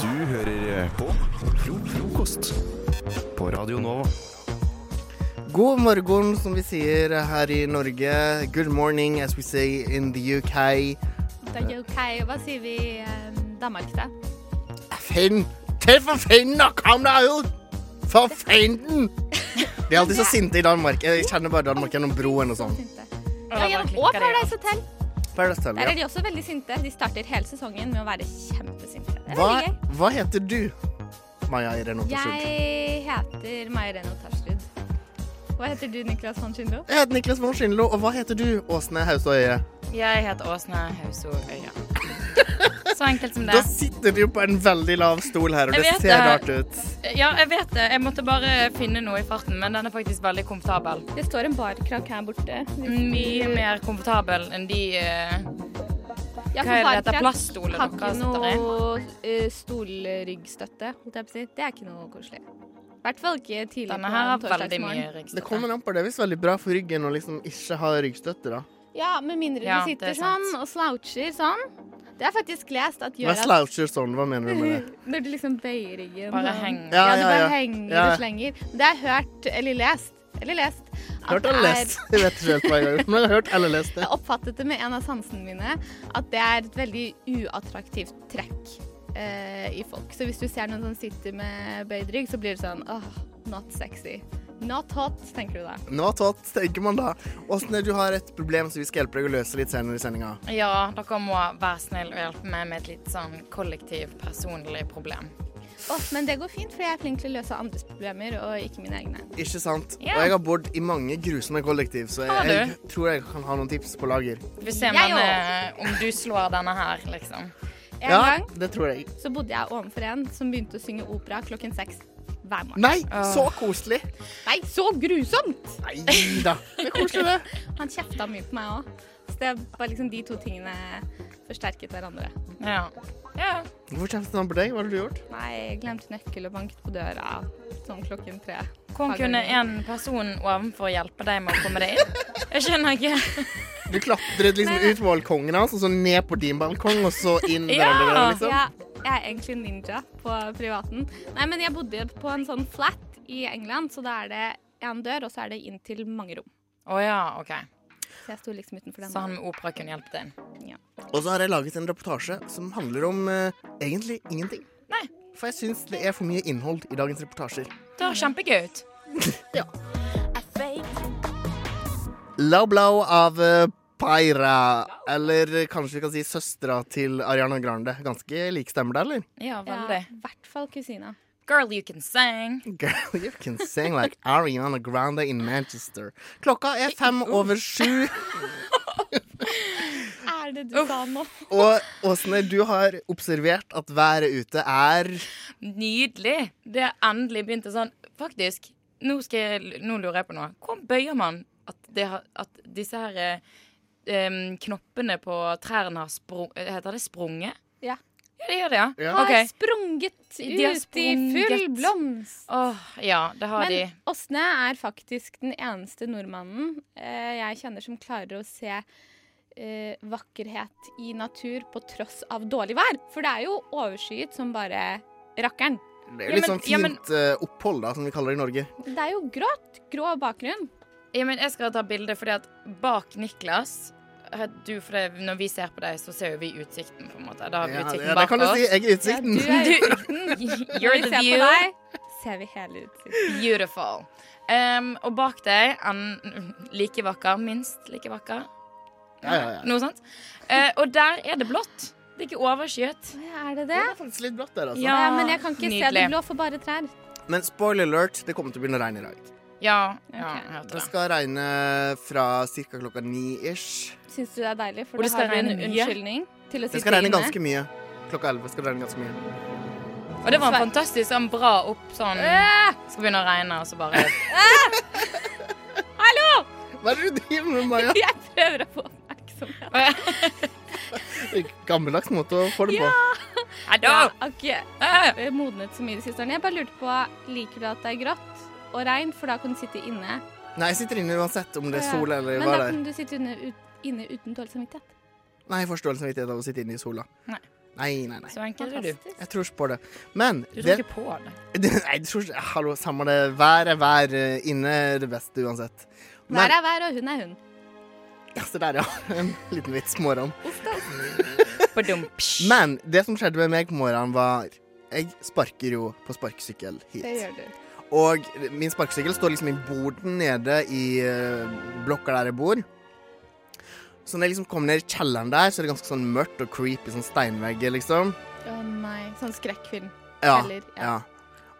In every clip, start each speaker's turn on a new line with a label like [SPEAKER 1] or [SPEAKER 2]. [SPEAKER 1] Du hører eh, på Fro- Frokost på Radio Nova.
[SPEAKER 2] God morgen, som vi sier her i Norge. Good morning, as we say in the UK.
[SPEAKER 3] Det er ok. Hva sier vi i eh, Danmark da?
[SPEAKER 2] Finn! Til for finnen, da! Kom deg ut! For finnen! De er alltid så sinte i Danmark. Jeg kjenner bare Danmark gjennom broen og sånn.
[SPEAKER 3] Sinte. Ja, ja, og Paradise Hotel.
[SPEAKER 2] Paradise Hotel,
[SPEAKER 3] Der er
[SPEAKER 2] ja.
[SPEAKER 3] de også veldig sinte. De starter hele sesongen med å være kjempesinte. Det er
[SPEAKER 2] Hva,
[SPEAKER 3] veldig gøy.
[SPEAKER 2] hva heter du, Maja Irene Ottersund?
[SPEAKER 3] Jeg heter Maja Reno Tarsrud. Hva heter du, Niklas von Schindlo?
[SPEAKER 2] Jeg heter Niklas von Schindlo, og hva heter du, Åsne Haustad Øye?
[SPEAKER 4] Jeg heter Åsne Hauso Øya. Så enkelt som det.
[SPEAKER 2] Da sitter du jo på en veldig lav stol her, og
[SPEAKER 4] Jeg
[SPEAKER 2] det
[SPEAKER 4] vet
[SPEAKER 2] ser rart
[SPEAKER 4] det.
[SPEAKER 2] ut.
[SPEAKER 4] Ja, jeg vet det. Jeg måtte bare finne noe i farten, men den er faktisk veldig komfortabel.
[SPEAKER 3] Det står en barkrakk her borte.
[SPEAKER 4] Mye mer komfortabel enn de eh,
[SPEAKER 3] Mm. Ja,
[SPEAKER 4] Hva er det dette plaststolen
[SPEAKER 3] har
[SPEAKER 4] dere
[SPEAKER 3] ikke
[SPEAKER 4] sitter i?
[SPEAKER 3] noe eh, stolryggstøtte, holdt jeg på å si. Det er ikke noe koselig. I hvert fall ikke tidlig
[SPEAKER 4] Denne
[SPEAKER 3] på
[SPEAKER 4] her
[SPEAKER 3] en
[SPEAKER 4] har veldig mye
[SPEAKER 3] torsdagsmorgen.
[SPEAKER 2] Det
[SPEAKER 4] ryggstøtte.
[SPEAKER 2] kommer an på. Det er visst veldig bra for ryggen å liksom ikke ha ryggstøtte, da.
[SPEAKER 3] Ja, med mindre
[SPEAKER 4] Ja,
[SPEAKER 3] du
[SPEAKER 4] det er
[SPEAKER 3] sitter
[SPEAKER 4] sant.
[SPEAKER 3] sånn og sloucher sånn. Det har jeg faktisk lest at
[SPEAKER 2] Hva
[SPEAKER 3] gjør at
[SPEAKER 2] sloucher sånn? Hva mener du med det?
[SPEAKER 3] Når du liksom bøyer ryggen.
[SPEAKER 4] Bare
[SPEAKER 3] sånn.
[SPEAKER 4] henger.
[SPEAKER 3] Ja,
[SPEAKER 2] Ja,
[SPEAKER 3] du
[SPEAKER 2] ja,
[SPEAKER 3] bare
[SPEAKER 2] ja.
[SPEAKER 3] henger
[SPEAKER 2] Ja.
[SPEAKER 3] og slenger. Det har jeg hørt eller lest. Eller lest. at
[SPEAKER 2] Hørt
[SPEAKER 3] det
[SPEAKER 2] eller
[SPEAKER 3] er-
[SPEAKER 2] lest? Jeg vet ikke helt hva jeg har gjort, men jeg har hørt eller lest det.
[SPEAKER 3] Jeg oppfattet det med en av sansene mine at det er et veldig uattraktivt trekk eh, i folk. Så hvis du ser noen som sitter med bøyd rygg, så blir det sånn åh, not sexy. Not hot, tenker du da.
[SPEAKER 2] Nå tatt, tenker man da. Åsne, du har et problem som vi skal hjelpe deg å løse litt senere i sendinga.
[SPEAKER 4] Ja, dere må være snill og hjelpe meg med et litt sånn kollektiv, personlig problem.
[SPEAKER 3] Åh, men det går fint, for jeg er flink til å løse andres problemer, og ikke mine egne.
[SPEAKER 2] Ikke sant?
[SPEAKER 4] Ja.
[SPEAKER 2] Og jeg har bodd i mange grusomme kollektiv, så
[SPEAKER 4] Har
[SPEAKER 2] jeg,
[SPEAKER 4] du?
[SPEAKER 2] jeg tror jeg kan ha noen tips på lager.
[SPEAKER 4] Vi får se om,
[SPEAKER 3] Jeg
[SPEAKER 4] denne, om du slår denne her, liksom.
[SPEAKER 3] En gang
[SPEAKER 2] det tror jeg.
[SPEAKER 3] så bodde jeg overfor en som begynte å synge opera klokken seks hver morgen.
[SPEAKER 2] Nei, så koselig!
[SPEAKER 3] Nei, så grusomt!
[SPEAKER 2] Nei da. Det er koselig, det.
[SPEAKER 3] Han kjefta mye på meg òg. Så det var liksom de to tingene forsterket hverandre.
[SPEAKER 4] Ja. ja.
[SPEAKER 2] Hvorfor kjeftet han på deg? Hva har du gjort?
[SPEAKER 3] Nei, jeg glemte nøkkel og banket på døra sånn klokken tre.
[SPEAKER 4] Hvordan kunne en person ovenfor hjelpe deg med å komme deg inn? Jeg skjønner ikke.
[SPEAKER 2] Du klatret liksom
[SPEAKER 3] Nei.
[SPEAKER 2] ut på balkongen hans, og så ned på din balkong, og så inn der.
[SPEAKER 4] Ja.
[SPEAKER 2] eller noe, liksom.
[SPEAKER 3] Ja, jeg er egentlig ninja på privaten. Nei, men jeg bodde på en sånn flat i England, så da er det én dør, og så er det inn til mange rom.
[SPEAKER 4] Å ja, OK.
[SPEAKER 3] Så jeg sto liksom utenfor den.
[SPEAKER 4] Så han med opera kunne hjelpe deg inn.
[SPEAKER 2] Og så har jeg laget en reportasje som handler om eh, egentlig ingenting.
[SPEAKER 4] Nei.
[SPEAKER 2] For jeg syns det er for mye innhold i dagens reportasjer.
[SPEAKER 4] Det høres kjempegøy ut.
[SPEAKER 2] Low Blow av eh, Paira. Eller kanskje vi kan si søstera til Ariana Grande. Ganske lik stemme der, eller?
[SPEAKER 4] Ja,
[SPEAKER 3] Ja,
[SPEAKER 4] veldig.
[SPEAKER 3] i hvert fall kusina.
[SPEAKER 4] Girl, you can sing.
[SPEAKER 2] Girl, you can sing like Ariana Grande in Manchester. Klokka er fem over sju,
[SPEAKER 3] Er det du sa nå?
[SPEAKER 2] og Åsne, du har observert at været ute er
[SPEAKER 4] Nydelig. Det er endelig begynte sånn. Faktisk, nå, skal jeg, nå lurer jeg på noe. Hvor bøyer man at, det har, at disse her eh, em, knoppene på trærne har sprung... Heter det sprunget?
[SPEAKER 3] Ja.
[SPEAKER 4] Ja, det gjør det, ja.
[SPEAKER 2] Ja.
[SPEAKER 3] Har
[SPEAKER 4] Ok.
[SPEAKER 3] sprunget ut
[SPEAKER 4] De har
[SPEAKER 3] i full
[SPEAKER 4] sprunget.
[SPEAKER 3] blomst.
[SPEAKER 4] Åh, ja, det har
[SPEAKER 3] Men
[SPEAKER 4] de.
[SPEAKER 3] Åsne er faktisk den eneste nordmannen eh, jeg kjenner som klarer å se eh, vakkerhet i natur på tross av dårlig vær. For det er jo overskyet som bare rakkeren.
[SPEAKER 2] det
[SPEAKER 4] Ja,
[SPEAKER 2] er litt
[SPEAKER 4] men-
[SPEAKER 2] sånn
[SPEAKER 4] ja, men-
[SPEAKER 2] fint eh, opphold, da, som vi kaller det i Norge.
[SPEAKER 3] Det er jo grått. Grå bakgrunn.
[SPEAKER 4] Ja, men jeg skal ta bilde, fordi at bak Niklas eh, du, for det, Når vi ser på deg, så ser jo vi utsikten, på en måte. Da har vi
[SPEAKER 2] Ja, det,
[SPEAKER 4] utsikten
[SPEAKER 2] det
[SPEAKER 4] bak
[SPEAKER 2] kan du
[SPEAKER 4] oss.
[SPEAKER 2] si. Jeg er
[SPEAKER 3] Ja,
[SPEAKER 2] utsikten.
[SPEAKER 3] er
[SPEAKER 4] Du-
[SPEAKER 3] utsikten. Når
[SPEAKER 4] You're
[SPEAKER 3] vi
[SPEAKER 4] the
[SPEAKER 3] ser
[SPEAKER 4] view.
[SPEAKER 3] på deg, ser vi hele utsikten.
[SPEAKER 4] Beautiful. Em, og bak deg en like vakker, minst like vakker.
[SPEAKER 2] Ja, ja, ja.
[SPEAKER 4] Noe sånt. Eh, og der er det blått. Det er ikke overskyet.
[SPEAKER 3] Er
[SPEAKER 2] Det
[SPEAKER 3] det det?
[SPEAKER 2] er faktisk litt blått der, altså.
[SPEAKER 4] Ja,
[SPEAKER 3] Ja, men jeg kan ikke se det
[SPEAKER 4] nydelig.
[SPEAKER 3] blå for bare trær.
[SPEAKER 2] Men spoiler alert, det kommer til å begynne å regne i dag.
[SPEAKER 4] Ja, ja
[SPEAKER 3] Ok.
[SPEAKER 4] jeg hørte
[SPEAKER 2] Det
[SPEAKER 4] det.
[SPEAKER 2] skal regne fra ca. klokka ni-ish.
[SPEAKER 3] Syns du det er deilig? For
[SPEAKER 4] Og
[SPEAKER 3] da
[SPEAKER 4] det skal
[SPEAKER 3] har du en
[SPEAKER 4] regne mye.
[SPEAKER 3] unnskyldning til å
[SPEAKER 2] Det
[SPEAKER 3] sitte
[SPEAKER 2] skal regne
[SPEAKER 3] inne.
[SPEAKER 2] ganske mye. Klokka elleve skal det regne ganske mye.
[SPEAKER 4] Og det var en fantastisk sånn bra opp sånn Skal begynne å regne, og så bare
[SPEAKER 2] Hva er det du driver med, Maja?
[SPEAKER 3] Jeg prøver å få oppmerksomhet.
[SPEAKER 2] Gammeldags måte å få det på.
[SPEAKER 4] Hallo!
[SPEAKER 3] Ja, ok.
[SPEAKER 4] Eh,
[SPEAKER 3] Jeg har modnet så mye de siste årene. Jeg bare lurte på, liker du at det er grått og regn, for da kan du sitte inne?
[SPEAKER 2] Nei, jeg sitter inne uansett om det er sol eller
[SPEAKER 3] Men
[SPEAKER 2] hva
[SPEAKER 3] da
[SPEAKER 2] det er.
[SPEAKER 3] kan du sitte inne, ut, inne uten dårlig samvittighet.
[SPEAKER 2] Nei, jeg forstår liksom ikke det av å sitte inne i sola.
[SPEAKER 4] Nei.
[SPEAKER 2] Nei, nei, nei.
[SPEAKER 4] Så enkel er du.
[SPEAKER 2] Jeg tror ikke på det. Men
[SPEAKER 4] Du
[SPEAKER 2] det-
[SPEAKER 4] tror ikke på det.
[SPEAKER 2] Nei, jeg tror ikke Hallo, samme det. Vær er vær. eh, Inne er det beste uansett. Men-
[SPEAKER 3] Vær er vær, og hun er hun.
[SPEAKER 2] Ja, se der, ja. En liten vits på morgenen.
[SPEAKER 4] Badum, psh.
[SPEAKER 2] Men det som skjedde med meg på morgenen, var Jeg sparker jo på sparkesykkel hit.
[SPEAKER 3] Det gjør du.
[SPEAKER 2] Og min sparkesykkel står liksom i borden nede i eh, blokka der jeg bor. Så når jeg liksom kommer ned i kjelleren der, så er det ganske sånn mørkt og creepy, sånn steinvegger, liksom.
[SPEAKER 3] Å nei. Sånn skrekkfilm.
[SPEAKER 2] Ja,
[SPEAKER 3] Eller, ja.
[SPEAKER 2] ja.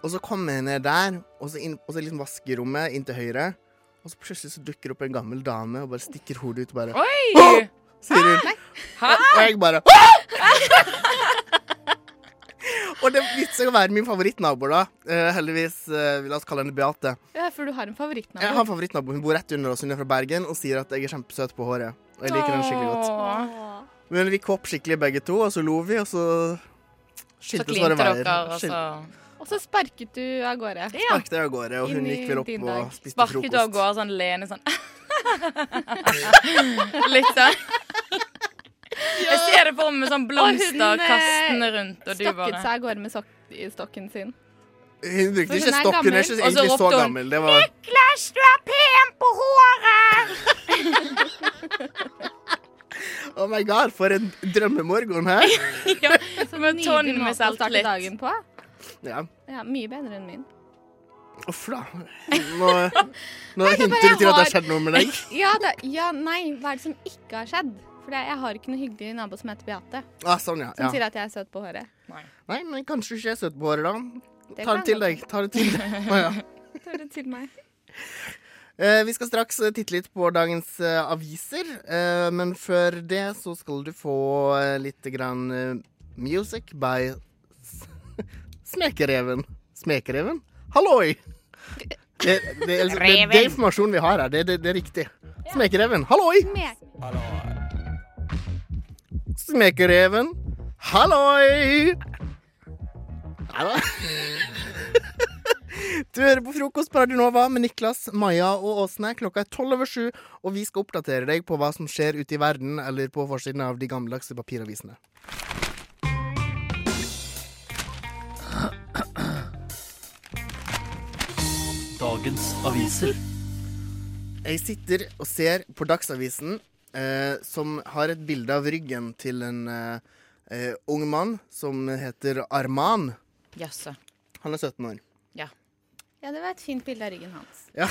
[SPEAKER 2] Og så kommer jeg ned der, og så, inn, og så liksom vaskerommet inn til høyre. Og så plutselig så dukker det opp en gammel dame og bare stikker hodet ut og bare
[SPEAKER 4] Oi!
[SPEAKER 2] sier hun.
[SPEAKER 4] Hæ?
[SPEAKER 2] Og jeg bare Og det viste seg å være min favorittnabo, da. Eh, heldigvis, eh, la oss kalle henne Beate.
[SPEAKER 3] Ja, for du har
[SPEAKER 2] Jeg
[SPEAKER 3] en
[SPEAKER 2] har
[SPEAKER 3] favorittnabo.
[SPEAKER 2] en favorittnabo. Hun bor rett under oss, hun er fra Bergen, og sier at jeg er kjempesøt på håret. Og jeg liker henne skikkelig godt.
[SPEAKER 4] Åh.
[SPEAKER 3] Åh.
[SPEAKER 2] Men vi kåp skikkelig begge to, og så lo vi, og så
[SPEAKER 4] Så
[SPEAKER 2] skiltes
[SPEAKER 4] klinte
[SPEAKER 2] våre veier.
[SPEAKER 4] dere, altså. og så
[SPEAKER 2] Skil-
[SPEAKER 3] Og så sparket du av gårde.
[SPEAKER 4] ja.
[SPEAKER 2] Sparket jeg av gårde, og
[SPEAKER 3] Inn
[SPEAKER 2] hun
[SPEAKER 3] i
[SPEAKER 2] gikk vel opp
[SPEAKER 3] din dag.
[SPEAKER 2] og spiste
[SPEAKER 4] Sparket av
[SPEAKER 2] frokost.
[SPEAKER 4] gårde sånn Lene sånn Litt sånn. Jeg ser det for meg med sånn
[SPEAKER 3] Og hun,
[SPEAKER 4] blomster
[SPEAKER 3] eh,
[SPEAKER 4] kastende rundt, og du
[SPEAKER 3] Stokket
[SPEAKER 4] bare
[SPEAKER 3] seg av gårde med sok i stokken sin.
[SPEAKER 2] Hun
[SPEAKER 3] For
[SPEAKER 2] brukte ikke
[SPEAKER 3] hun er
[SPEAKER 2] stokk, hun er
[SPEAKER 3] gammel,
[SPEAKER 2] ikke
[SPEAKER 4] og så
[SPEAKER 2] egentlig så
[SPEAKER 4] ropte hun,
[SPEAKER 2] gammel. Det var
[SPEAKER 4] Niklas, du er pen på håret!
[SPEAKER 2] Oh my god, for en drømmemorgen her.
[SPEAKER 4] Ja, som en tonn
[SPEAKER 3] Nydelig
[SPEAKER 4] med
[SPEAKER 3] måte å starte
[SPEAKER 4] selvtillit.
[SPEAKER 3] dagen på.
[SPEAKER 2] Ja.
[SPEAKER 3] Ja, Mye bedre enn min.
[SPEAKER 2] Uff da. Nå, nå hinter du til at det har skjedd noe med deg.
[SPEAKER 3] Ja, det, ja, nei, hva er det som ikke har skjedd? For det- jeg har ikke noe hyggelig nabo som heter Beate,
[SPEAKER 2] Ah, sånn, ja.
[SPEAKER 3] som sier
[SPEAKER 2] ja.
[SPEAKER 3] at jeg er søt på håret.
[SPEAKER 4] Nei.
[SPEAKER 2] Nei, men kanskje du ikke er søt på håret, da.
[SPEAKER 3] Det
[SPEAKER 2] Ta
[SPEAKER 3] kan
[SPEAKER 2] det til
[SPEAKER 3] jeg
[SPEAKER 2] deg. Ta det til deg. Å, ja.
[SPEAKER 3] Tar det til meg.
[SPEAKER 2] Eh, vi skal straks eh, titte litt på dagens eh, aviser, eh, men før det så skal du få eh, litt grann eh, music by S- Smekereven. Smekereven? Halloi! Det, det, det, altså, det, det, er informasjonen vi har her. Det, det, det er riktig. Smekereven. Halloi!
[SPEAKER 3] Med
[SPEAKER 2] Smekereven. Halloi! Hallo. Du hører på frokost på Radio Nova med Niklas, Maja og Åsne. Klokka er tolv over sju, og vi skal oppdatere deg på hva som skjer ute i verden eller på forsiden av de gammeldagse papiravisene.
[SPEAKER 1] Dagens aviser.
[SPEAKER 2] Jeg sitter og ser på Dagsavisen, eh, som har et bilde av ryggen til en eh, eh, ung mann som heter Arman.
[SPEAKER 4] Jaså.
[SPEAKER 2] Han er 17 år.
[SPEAKER 3] Ja, det var et fint bilde av ryggen hans.
[SPEAKER 2] Ja.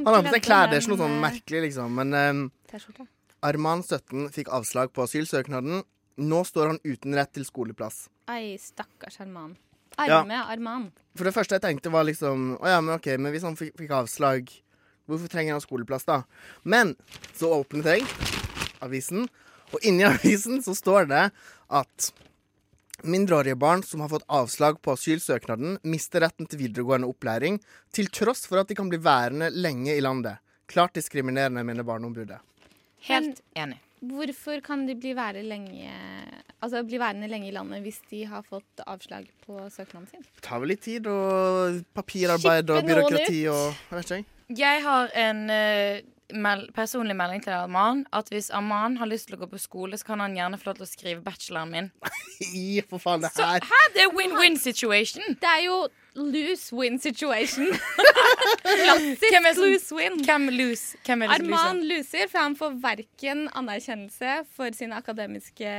[SPEAKER 2] Han har på seg klær, det er ikke noe sånn merkelig, liksom. Men eh,
[SPEAKER 3] T-skjorta.
[SPEAKER 2] Arman 17 fikk avslag på asylsøknaden. Nå står han uten rett til skoleplass.
[SPEAKER 3] Ai, stakkars Arman. Arme Arman.
[SPEAKER 2] For det første jeg tenkte var liksom Å ja, men ok, men hvis han fikk, fikk avslag, hvorfor trenger han skoleplass da? Men så åpnet jeg avisen, og inni avisen så står det at Mindreårige barn som har fått avslag på asylsøknaden, mister retten til videregående opplæring til tross for at de kan bli værende lenge i landet. Klart diskriminerende, mener Barneombudet.
[SPEAKER 4] Helt enig.
[SPEAKER 3] Hvorfor kan de bli, være lenge, altså, bli værende lenge i landet hvis de har fått avslag på søknaden sin?
[SPEAKER 2] Det tar vel litt tid, og papirarbeid og
[SPEAKER 3] Skippe noen
[SPEAKER 2] byråkrati og Jeg vet ikke, jeg.
[SPEAKER 4] Jeg har en eh, mel personlig melding til Arman. At hvis Arman har lyst til å gå på skole, så kan han gjerne få lov til å skrive bacheloren min.
[SPEAKER 2] I, for faen, det her
[SPEAKER 4] Hæ, det er win-win situation!
[SPEAKER 3] Det er jo lose win situation.
[SPEAKER 4] Hvem er
[SPEAKER 3] Klassisk
[SPEAKER 4] som-
[SPEAKER 3] lose win.
[SPEAKER 4] Hvem lose? Hvem er det som
[SPEAKER 3] Arman
[SPEAKER 4] loser?
[SPEAKER 3] loser, for han får verken anerkjennelse for sine akademiske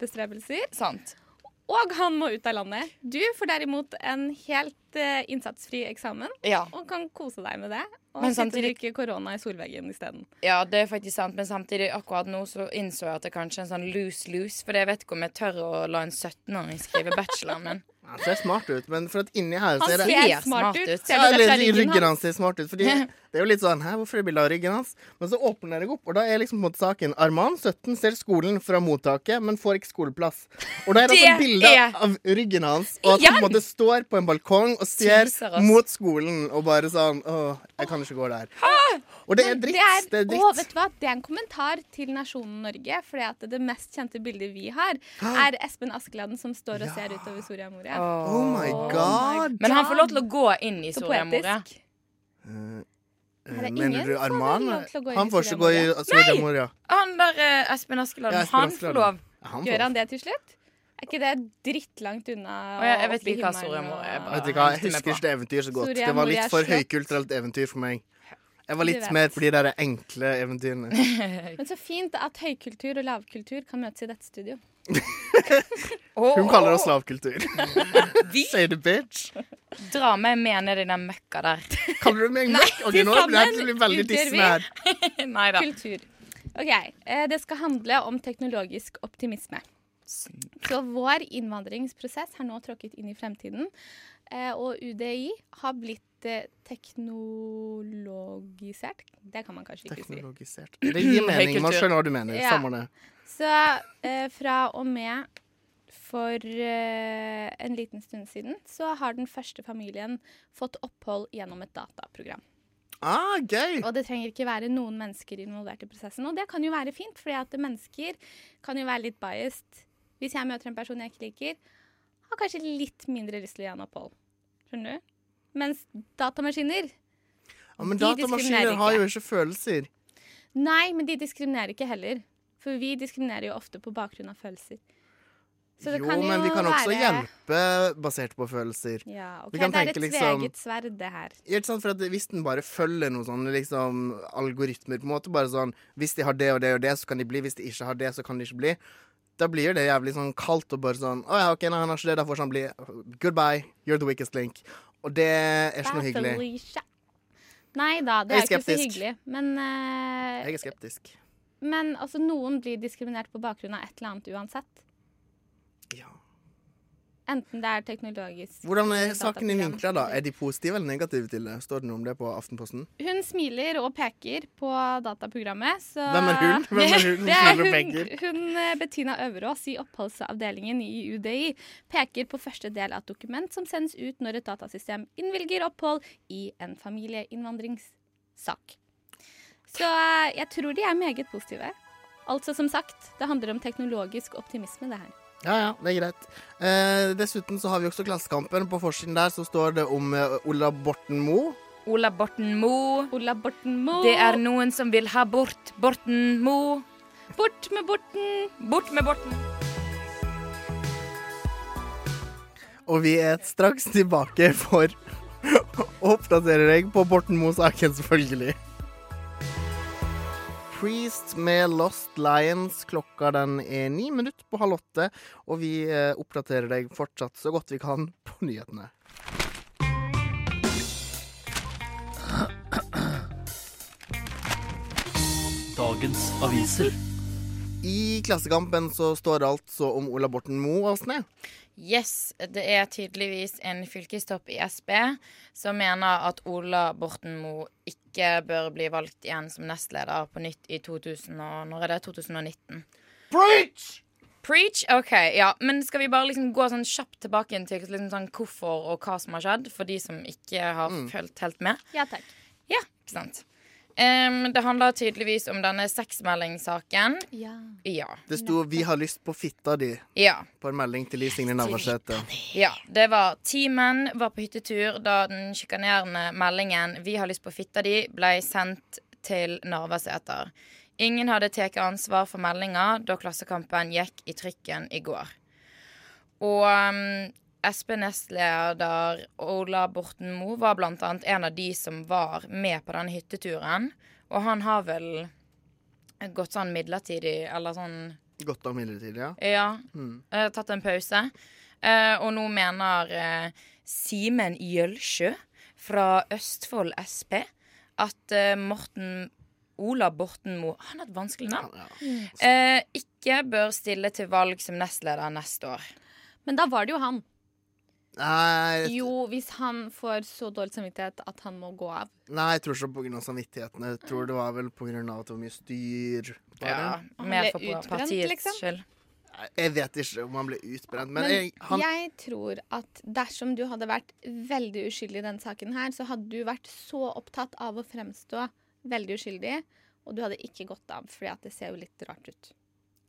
[SPEAKER 3] bestrebelser,
[SPEAKER 4] Sant.
[SPEAKER 3] og han må ut av landet. Du får derimot en helt eh, innsatsfri eksamen,
[SPEAKER 4] Ja.
[SPEAKER 3] og kan kose deg med det. Og
[SPEAKER 4] Men
[SPEAKER 3] sitte og
[SPEAKER 4] samtidig-
[SPEAKER 3] drikke korona i solveggen isteden.
[SPEAKER 4] Ja, det er faktisk sant, men samtidig akkurat nå så innså jeg at det er kanskje en sånn lose-lose. For jeg vet ikke om jeg tør å la en 17-åring skrive bacheloren min.
[SPEAKER 2] Han ser smart ut, men for at inni her så
[SPEAKER 3] Han
[SPEAKER 2] er det
[SPEAKER 3] ser smart ut.
[SPEAKER 4] ut.
[SPEAKER 3] Ser
[SPEAKER 2] ja,
[SPEAKER 3] du det
[SPEAKER 2] eller,
[SPEAKER 3] fra
[SPEAKER 2] ryggen
[SPEAKER 3] ryggen
[SPEAKER 2] hans
[SPEAKER 3] hans?
[SPEAKER 2] ser smart ut. Fordi det er jo litt sånn Hæ, hvorfor er det bilde av ryggen hans? Men så åpner jeg opp, og da er liksom på en måte saken Arman 17 ser skolen fra mottaket, men får ikke skoleplass. Og da er det,
[SPEAKER 4] Det
[SPEAKER 2] sånn bilde
[SPEAKER 4] er-
[SPEAKER 2] av ryggen hans, og at han på en måte står på en balkong og ser
[SPEAKER 4] Teaser oss.
[SPEAKER 2] mot skolen og bare sånn Å, jeg kan ikke gå der. Og det er dritt. Det er
[SPEAKER 3] Å, vet
[SPEAKER 2] dritt.
[SPEAKER 3] du hva? Det er en kommentar til nasjonen Norge. For det mest kjente bildet vi har, er Espen Askeladden som står og ser utover Soria Moria.
[SPEAKER 2] Oh my god.
[SPEAKER 4] Men han får lov til å gå inn i
[SPEAKER 3] Så
[SPEAKER 4] Soria Moria.
[SPEAKER 3] poetisk. Her er
[SPEAKER 2] Eh, Mener
[SPEAKER 3] ingen
[SPEAKER 2] du
[SPEAKER 3] som
[SPEAKER 2] Arman?
[SPEAKER 3] har lov til å gå inn i
[SPEAKER 2] Han får ikke
[SPEAKER 3] Soria
[SPEAKER 2] gå i
[SPEAKER 3] Moria.
[SPEAKER 2] Soria Moria.
[SPEAKER 4] Han der eh, Espen Askeladden,
[SPEAKER 2] Ja, Espen
[SPEAKER 4] han får
[SPEAKER 2] Askeladden.
[SPEAKER 4] lov.
[SPEAKER 2] Han
[SPEAKER 3] Gjør
[SPEAKER 2] får-
[SPEAKER 3] han det til slutt? Er ikke det drittlangt unna?
[SPEAKER 4] Og jeg- jeg
[SPEAKER 3] og
[SPEAKER 4] vet
[SPEAKER 3] opp i
[SPEAKER 4] ikke hva
[SPEAKER 3] himmelen
[SPEAKER 4] Soria Moria er,
[SPEAKER 3] og-
[SPEAKER 4] bare.
[SPEAKER 2] Vet du hva, Jeg
[SPEAKER 4] Hengte med
[SPEAKER 2] husker
[SPEAKER 4] på.
[SPEAKER 2] ikke det eventyret så godt.
[SPEAKER 3] Soria
[SPEAKER 2] Det var
[SPEAKER 3] Moria
[SPEAKER 2] litt for
[SPEAKER 3] slott.
[SPEAKER 2] høykulturelt eventyr for meg. Jeg var litt
[SPEAKER 3] vet.
[SPEAKER 2] mer på de der enkle eventyrene.
[SPEAKER 3] Men så fint at høykultur og lavkultur kan møtes i dette studio.
[SPEAKER 2] Hun kaller oss lavkultur.
[SPEAKER 4] Vi
[SPEAKER 2] Say the bitch.
[SPEAKER 4] drar meg med ned i den møkka der.
[SPEAKER 2] Kaller du meg møkk? Ok, nå blir jeg
[SPEAKER 3] sammen
[SPEAKER 2] til å bli veldig
[SPEAKER 3] utgjør vi-
[SPEAKER 2] dissende her.
[SPEAKER 4] Nei da.
[SPEAKER 3] Kultur. Ok, eh, Det skal handle om teknologisk optimisme. Så vår innvandringsprosess har nå tråkket inn i fremtiden. eh, Og UDI har blitt eh, teknologisert. Det kan man kanskje ikke si.
[SPEAKER 2] Teknologisert. Det gir mening. Man
[SPEAKER 4] Mm, Høykultur.
[SPEAKER 2] skjønner hva du mener.
[SPEAKER 3] Ja.
[SPEAKER 2] Samme det.
[SPEAKER 3] Så eh, fra og med for eh, en liten stund siden så har den første familien fått opphold gjennom et dataprogram.
[SPEAKER 2] Ah, gøy!
[SPEAKER 3] Og det trenger ikke være noen mennesker involvert i prosessen. Og det kan jo være fint, fordi at mennesker kan jo være litt biased. Hvis jeg møter en person jeg ikke liker, har kanskje litt mindre lyst til å gi han opphold. Skjønner du? Mens datamaskiner
[SPEAKER 2] Ja, men
[SPEAKER 3] de diskriminerer
[SPEAKER 2] datamaskiner
[SPEAKER 3] ikke.
[SPEAKER 2] har jo ikke følelser.
[SPEAKER 3] Nei, men de diskriminerer ikke heller. For vi diskriminerer jo ofte på bakgrunn av følelser. Så det
[SPEAKER 2] Jo,
[SPEAKER 3] kan jo
[SPEAKER 2] men vi kan også
[SPEAKER 3] være-
[SPEAKER 2] hjelpe basert på følelser.
[SPEAKER 3] Ja, ok.
[SPEAKER 2] Vi kan
[SPEAKER 3] Det er
[SPEAKER 2] tenke
[SPEAKER 3] et
[SPEAKER 2] liksom-
[SPEAKER 3] tveegget sverd, det her.
[SPEAKER 2] Ja, Ikke sant? For at Hvis den bare følger noen sånne liksom, algoritmer på en måte, bare sånn, Hvis de har det og det og det, så kan de bli. Hvis de ikke har det, så kan de ikke bli. Da blir det jævlig sånn kaldt og bare sånn Å ja, OK, nei, han har ikke det, da får han bli. Goodbye. You're the weakest link. Og det er ikke noe hyggelig.
[SPEAKER 3] Felicia. Nei da, det
[SPEAKER 2] Jeg er
[SPEAKER 3] er, ikke så
[SPEAKER 2] skeptisk.
[SPEAKER 3] hyggelig. Men, eh,
[SPEAKER 2] Jeg er skeptisk.
[SPEAKER 3] men altså, noen blir diskriminert på bakgrunn av et eller annet uansett.
[SPEAKER 2] Ja.
[SPEAKER 3] Enten det er teknologisk
[SPEAKER 2] Hvordan
[SPEAKER 3] eh,
[SPEAKER 2] er saken din
[SPEAKER 3] dataprogram.
[SPEAKER 2] vinkla, da? Er de positive eller negative til det? Står det noe om det på Aftenposten?
[SPEAKER 3] Hun smiler og peker på dataprogrammet, så
[SPEAKER 2] Hvem er hun? Hvem er hun?
[SPEAKER 3] Det er
[SPEAKER 2] Smiler og
[SPEAKER 3] hun,
[SPEAKER 2] peker.
[SPEAKER 3] hun eh, Bettina Øverås i oppholdsavdelingen i UDI peker på første del av et dokument som sendes ut når et datasystem innvilger opphold i en familieinnvandringssak. Så eh, jeg tror de er meget positive. Altså, som sagt, det handler om teknologisk optimisme, det her.
[SPEAKER 2] Ja, ja, det er greit. Eh, dessuten så har vi også Klassekampen. På forsiden der så står det om eh, Ola Borten Moe.
[SPEAKER 4] Ola Borten Moe.
[SPEAKER 3] Ola Borten Moe.
[SPEAKER 4] Det er noen som vil ha bort Borten Moe.
[SPEAKER 3] Bort med Borten!
[SPEAKER 4] Bort med Borten.
[SPEAKER 2] Og vi er straks tilbake for å oppdatere deg på Borten Moe-saken, selvfølgelig. Priest med Lost Lions. Klokka den er ni minutt på halv åtte. Og vi eh, oppdaterer deg fortsatt så godt vi kan på nyhetene.
[SPEAKER 5] Dagens aviser.
[SPEAKER 2] I Klassekampen så står det altså om Ola Borten Moe, Åsne.
[SPEAKER 4] Yes, det er tydeligvis en fylkestopp i SB som mener at Ola Borten Moe ikke bør bli valgt igjen som nestleder på nytt i 2000 og, når er det? 2019.
[SPEAKER 2] Preach!
[SPEAKER 4] Preach! OK, ja. Men skal vi bare liksom gå sånn kjapt tilbake til liksom sånn hvorfor og hva som har skjedd, for de som ikke har fulgt helt med?
[SPEAKER 3] Ja takk.
[SPEAKER 4] Ja, ikke sant. Em, det handler tydeligvis om denne sexmeldingssaken.
[SPEAKER 3] Ja.
[SPEAKER 4] Ja.
[SPEAKER 2] Det sto 'Vi har lyst på fitta di'
[SPEAKER 4] Ja.
[SPEAKER 2] på en melding til Liv Signe Navarsete.
[SPEAKER 4] Ja, det var ti menn var på hyttetur da den sjikanerende meldingen 'Vi har lyst på fitta di' ble sendt til Narvasæter. Ingen hadde tatt ansvar for meldinga da Klassekampen gikk i trykken i går. Og um, SP-nestleder Ola Borten Moe var blant annet en av de som var med på den hytteturen. Og han har vel gått sånn midlertidig, eller sånn
[SPEAKER 2] Godt av midlertidig, ja.
[SPEAKER 4] ja. Eh, tatt en pause. Eh, og nå mener eh, Simen Gjølsjø fra Østfold Sp at eh, Morten Ola Borten Moe Han har et vanskelig navn.
[SPEAKER 2] ja.
[SPEAKER 4] Eh, ikke bør stille til valg som nestleder neste år.
[SPEAKER 3] Men da var det jo han.
[SPEAKER 2] Nei, jeg-
[SPEAKER 3] Jo, hvis han får så dårlig samvittighet at han må gå av.
[SPEAKER 2] nei, jeg tror ikke på grunn av samvittigheten. Jeg tror det var vel på grunn av at det var mye styr. bare.
[SPEAKER 4] Ja,
[SPEAKER 3] Han
[SPEAKER 4] mer
[SPEAKER 3] ble
[SPEAKER 4] for
[SPEAKER 3] utbrent,
[SPEAKER 4] partiets
[SPEAKER 3] liksom?
[SPEAKER 4] skyld.
[SPEAKER 2] Jeg vet ikke om han ble utbrent, men,
[SPEAKER 3] Men
[SPEAKER 2] jeg, han
[SPEAKER 3] jeg tror at dersom du hadde vært veldig uskyldig i denne saken her, så hadde du vært så opptatt av å fremstå veldig uskyldig, og du hadde ikke gått av, fordi at det ser jo litt rart ut.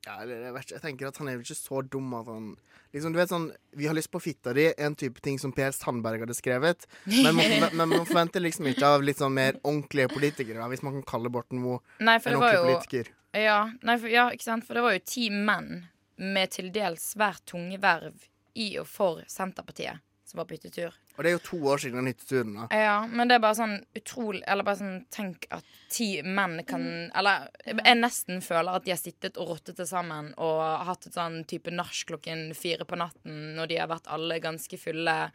[SPEAKER 2] ja, eller, jeg, vet ikke, jeg tenker at han er vel ikke så dum at han liksom, Du vet sånn Vi har lyst på fitta di, en type ting som Per Sandberg hadde skrevet. Men man, forve- men man forventer liksom ikke av litt sånn mer ordentlige politikere, da, hvis man kan kalle Borten Moe
[SPEAKER 4] Nei, for
[SPEAKER 2] en
[SPEAKER 4] det var
[SPEAKER 2] ordentlig
[SPEAKER 4] jo
[SPEAKER 2] politiker.
[SPEAKER 4] ja, nei, for, ja, ikke sant? For det var jo ti menn med til dels svært tunge verv i og for Senterpartiet, som var på hyttetur.
[SPEAKER 2] Og det er jo to år siden den hytteturen. da.
[SPEAKER 4] Ja, men det er bare sånn utrolig Eller bare sånn, tenk at ti menn kan Eller jeg nesten føler at de har sittet og rottet det sammen og hatt et sånn type nach klokken fire på natten når de har vært alle ganske fulle.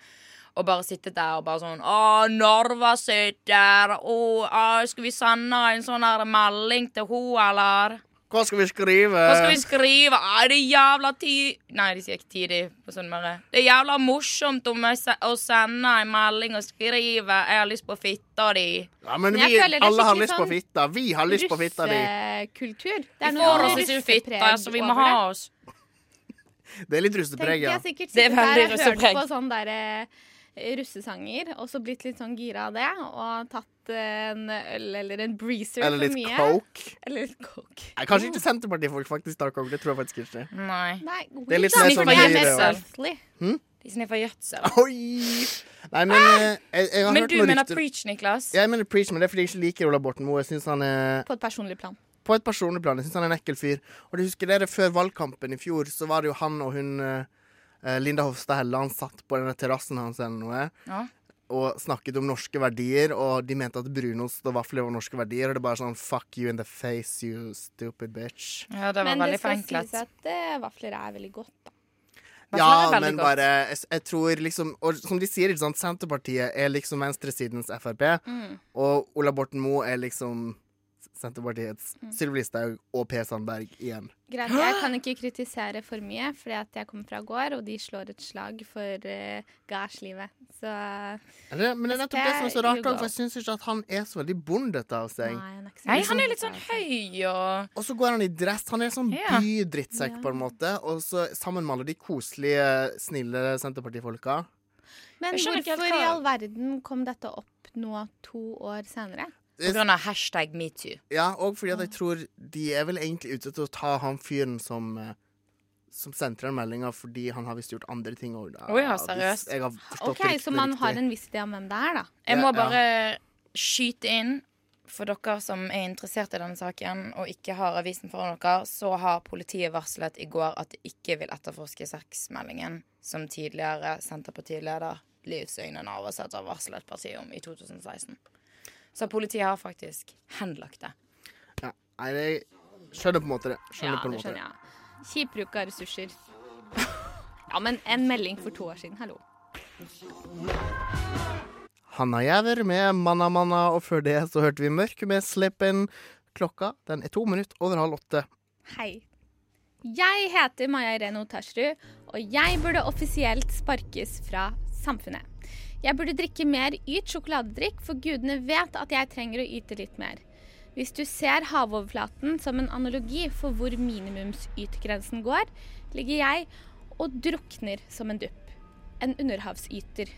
[SPEAKER 4] Og bare sittet der og bare sånn Å, Norva sitter! Å, å, skal vi sende en sånn her melding til ho, eller?
[SPEAKER 2] Hva skal vi skrive?
[SPEAKER 4] Hva skal vi skrive? Nei, det er jævla tid... Nei, de sier ikke tidlig på Sunnmøre. Det er jævla morsomt om jeg se- å sende en melding og skrive 'Jeg har lyst på fitta di'.
[SPEAKER 2] Ja, men
[SPEAKER 3] Men
[SPEAKER 2] vi,
[SPEAKER 3] jeg føler det er
[SPEAKER 2] alle har
[SPEAKER 3] skikkelig
[SPEAKER 2] lyst på
[SPEAKER 3] sånn
[SPEAKER 2] fitta. Vi har lyst på fitta di.
[SPEAKER 3] Russekultur. Det er
[SPEAKER 4] Vi
[SPEAKER 3] noe
[SPEAKER 4] får oss ikke fitta, så altså, vi må
[SPEAKER 3] over det.
[SPEAKER 4] ha oss.
[SPEAKER 2] Det er litt russepreg,
[SPEAKER 3] Tenker
[SPEAKER 2] ja.
[SPEAKER 3] jeg sikkert
[SPEAKER 4] Det er
[SPEAKER 3] sikkert der
[SPEAKER 4] veldig
[SPEAKER 3] jeg har hørt
[SPEAKER 4] russepreg.
[SPEAKER 3] på sånn der eh, russesanger, og så blitt litt sånn gira av det, og tatt eh, en øl eller en breezer
[SPEAKER 2] Eller litt
[SPEAKER 3] for mye.
[SPEAKER 2] coke.
[SPEAKER 3] Eller litt coke.
[SPEAKER 2] Nei, kanskje ikke Senterpartifolk faktisk tar coke. Det tror jeg faktisk ikke.
[SPEAKER 4] Nei.
[SPEAKER 3] Nei,
[SPEAKER 2] Det er litt
[SPEAKER 3] weed,
[SPEAKER 4] mer
[SPEAKER 3] da,
[SPEAKER 4] sånn
[SPEAKER 3] for det er
[SPEAKER 4] gire,
[SPEAKER 3] mer
[SPEAKER 4] ja.
[SPEAKER 3] earthly.
[SPEAKER 4] De sniffer gjødsel.
[SPEAKER 2] Oi! Nei, men eh, jeg, jeg har
[SPEAKER 4] Ah! Men
[SPEAKER 2] hørt
[SPEAKER 4] du
[SPEAKER 2] noen
[SPEAKER 4] mener
[SPEAKER 2] rykter
[SPEAKER 4] preach, Niklas?
[SPEAKER 2] Jeg mener preach, men det er fordi jeg ikke liker Ola Borten Moe. Jeg synes han er
[SPEAKER 3] På et personlig plan.
[SPEAKER 2] På et personlig plan, jeg synes han er en ekkel fyr. Og du husker dere før valgkampen i fjor, så var det jo han og hun eh, eh, Linda Hofstad Helleland satt på denne terrassen hans eller noe.
[SPEAKER 4] Ja.
[SPEAKER 2] Og snakket om norske verdier, og de mente at brunost og vafler var norske verdier. Og det er bare sånn fuck you in the face, you stupid bitch.
[SPEAKER 4] Ja, det var
[SPEAKER 3] Men det skal
[SPEAKER 4] veldig
[SPEAKER 3] sies
[SPEAKER 4] forenklet.
[SPEAKER 3] at eh, vafler er veldig godt, da.
[SPEAKER 2] Ja,
[SPEAKER 4] Vafler er veldig
[SPEAKER 2] men
[SPEAKER 4] godt.
[SPEAKER 2] bare jeg, jeg tror liksom Og som de sier, ikke sant, Senterpartiet er liksom venstresidens Frp.
[SPEAKER 4] Mm.
[SPEAKER 2] Og Ola Borten Moe er liksom Senterpartiets
[SPEAKER 4] Mm.
[SPEAKER 2] Sylvi Listhaug og Per Sandberg igjen.
[SPEAKER 3] Greit, jeg kan ikke kritisere for mye, fordi at jeg kommer fra gård, og de slår et slag for uh, gardslivet. Så
[SPEAKER 2] Er det, men det er nettopp det som er så
[SPEAKER 3] Det er
[SPEAKER 2] rart,
[SPEAKER 3] Hugo.
[SPEAKER 2] for jeg syns ikke at han er så veldig bondete av
[SPEAKER 3] nei,
[SPEAKER 2] seg.
[SPEAKER 3] han er ikke så
[SPEAKER 4] Nei, han er litt sånn høy og
[SPEAKER 2] Og så går han i dress. Han er sånn
[SPEAKER 4] Ja.
[SPEAKER 2] bydrittsekk, på en måte. Og så sammen med alle de koselige, snille Senterpartifolka.
[SPEAKER 3] Men
[SPEAKER 4] Jeg skjønner ikke helt
[SPEAKER 3] hvorfor i
[SPEAKER 4] hva-
[SPEAKER 3] all verden kom dette opp nå to år senere?
[SPEAKER 4] På grunn av hashtag metoo.
[SPEAKER 2] Ja, og fordi at jeg tror de er vel egentlig ute etter å ta han fyren som eh, som sendte den meldinga fordi han har visst gjort andre ting òg.
[SPEAKER 4] Å ja, seriøst?
[SPEAKER 2] Jeg har forstått
[SPEAKER 3] Ok,
[SPEAKER 2] ryktene
[SPEAKER 3] Så man har
[SPEAKER 2] riktig.
[SPEAKER 3] en viss idé om hvem det er, da.
[SPEAKER 4] Jeg
[SPEAKER 2] Ja,
[SPEAKER 4] må
[SPEAKER 2] ja.
[SPEAKER 4] bare skyte inn for dere som er interessert i denne saken og ikke har avisen foran dere, så har politiet varslet i går at de ikke vil etterforske sexmeldingen som tidligere Senterpartileder Liv Søgne Navarsete varslet partiet om i 2016. Så politiet har faktisk henlagt det.
[SPEAKER 2] ja. Nei, jeg skjønner på en måte det. Skjønner
[SPEAKER 3] Ja,
[SPEAKER 2] på en
[SPEAKER 3] det
[SPEAKER 2] måte
[SPEAKER 3] skjønner jeg. Kjip bruk av ressurser. Ja, men en melding for to år siden, hallo.
[SPEAKER 2] Hanna Jæver med Manna Manna, og før det så hørte vi Mørk med Slipp In. Klokka den er to minutter over halv åtte.
[SPEAKER 3] Hei. Jeg heter Maja Irene Otarsrud, og jeg burde offisielt sparkes fra samfunnet. Jeg burde drikke mer yt sjokoladedrikk, for gudene vet at jeg trenger å yte litt mer. Hvis du ser havoverflaten som en analogi for hvor minimumsytegrensen går, ligger jeg og drukner som en dupp. En underhavsyter.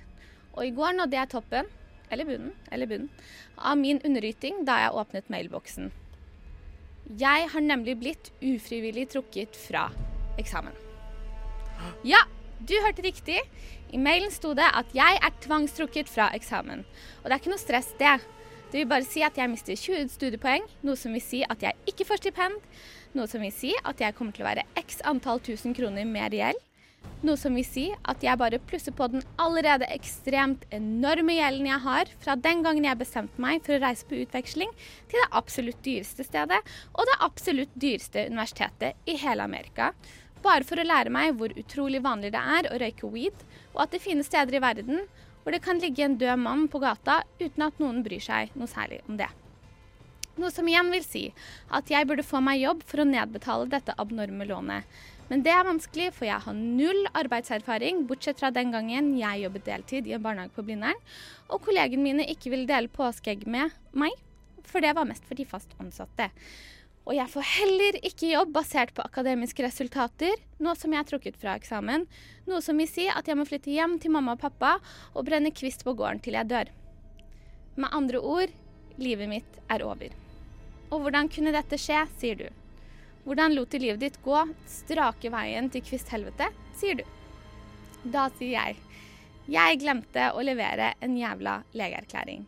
[SPEAKER 3] Og i går nådde jeg toppen, eller bunnen, eller bunnen, av min underyting da jeg åpnet mailboksen. Jeg har nemlig blitt ufrivillig trukket fra eksamen. Ja, du hørte riktig. I mailen sto det at jeg er tvangstrukket fra eksamen. Og det er ikke noe stress, det. Det vil bare si at jeg mister 20 studiepoeng, noe som vil si at jeg ikke får stipend, noe som vil si at jeg kommer til å være x antall tusen kroner mer i gjeld, noe som vil si at jeg bare plusser på den allerede ekstremt enorme gjelden jeg har fra den gangen jeg bestemte meg for å reise på utveksling til det absolutt dyreste stedet og det absolutt dyreste universitetet i hele Amerika. Bare for å lære meg hvor utrolig vanlig det er å røyke weed, og at det finnes steder i verden hvor det kan ligge en død mann på gata uten at noen bryr seg noe særlig om det. Noe som igjen vil si at jeg burde få meg jobb for å nedbetale dette abnorme lånet. Men det er vanskelig, for jeg har null arbeidserfaring, bortsett fra den gangen jeg jobbet deltid i en barnehage på Blindern, og kollegene mine ikke ville dele påskeegg med meg, for det var mest for de fast ansatte. Og jeg får heller ikke jobb basert på akademiske resultater, nå som jeg er trukket fra eksamen, noe som vil si at jeg må flytte hjem til mamma og pappa og brenne kvist på gården til jeg dør. Med andre ord, livet mitt er over. Og hvordan kunne dette skje, sier du. Hvordan lot du livet ditt gå strake veien til kvisthelvete, sier du. Da sier jeg, jeg glemte å levere en jævla legeerklæring.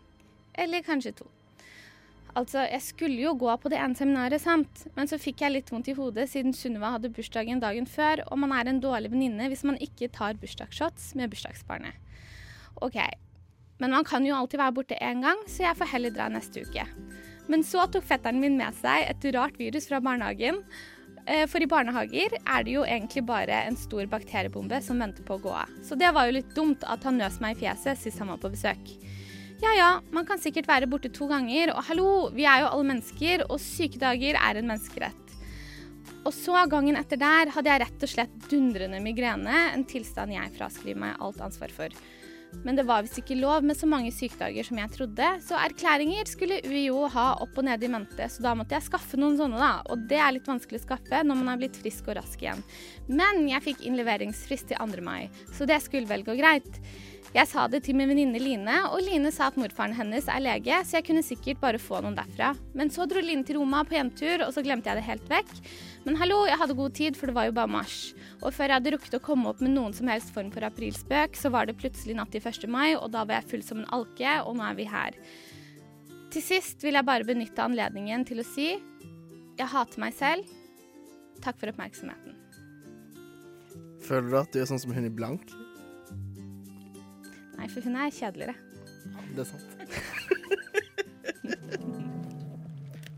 [SPEAKER 3] Eller kanskje to. Altså, jeg skulle jo gå på det ene seminaret, sant? Men så fikk jeg litt vondt i hodet siden Sunniva hadde bursdagen dagen før, og man er en dårlig venninne hvis man ikke tar bursdagsshots med bursdagsbarnet. OK. Men man kan jo alltid være borte én gang, så jeg får heller dra neste uke. Men så tok fetteren min med seg et rart virus fra barnehagen. Eh, For i barnehager er det jo egentlig bare en stor bakteriebombe som venter på å gå av. Så det var jo litt dumt at han nøs meg i fjeset sist han var på besøk. Ja ja, man kan sikkert være borte to ganger, og hallo, vi er jo alle mennesker, og sykedager er en menneskerett. Og så gangen etter der hadde jeg rett og slett dundrende migrene, en tilstand jeg fraskriver meg alt ansvar for. Men det var visst ikke lov med så mange sykedager som jeg trodde, så erklæringer skulle UiO ha opp og ned i mente, så da måtte jeg skaffe noen sånne, da. Og det er litt vanskelig å skaffe når man er blitt frisk og rask igjen. Men jeg fikk innleveringsfrist til 2. mai, så det skulle vel gå greit. Jeg sa det til min venninne Line, og Line sa at morfaren hennes er lege, så jeg kunne sikkert bare få noen derfra. Men så dro Line til Roma på hjemtur, og så glemte jeg det helt vekk. Men hallo, jeg hadde god tid, for det var jo bare mars. Og før jeg hadde rukket å komme opp med noen som helst form for aprilspøk, så var det plutselig natt til 1. mai, og da var jeg full som en alke, og nå er vi her. Til sist vil jeg bare benytte anledningen til å si jeg hater meg selv. Takk for oppmerksomheten.
[SPEAKER 2] Føler du at du er sånn som hun i blank?
[SPEAKER 3] Nei, for hun er kjedeligere.
[SPEAKER 2] Det er sant.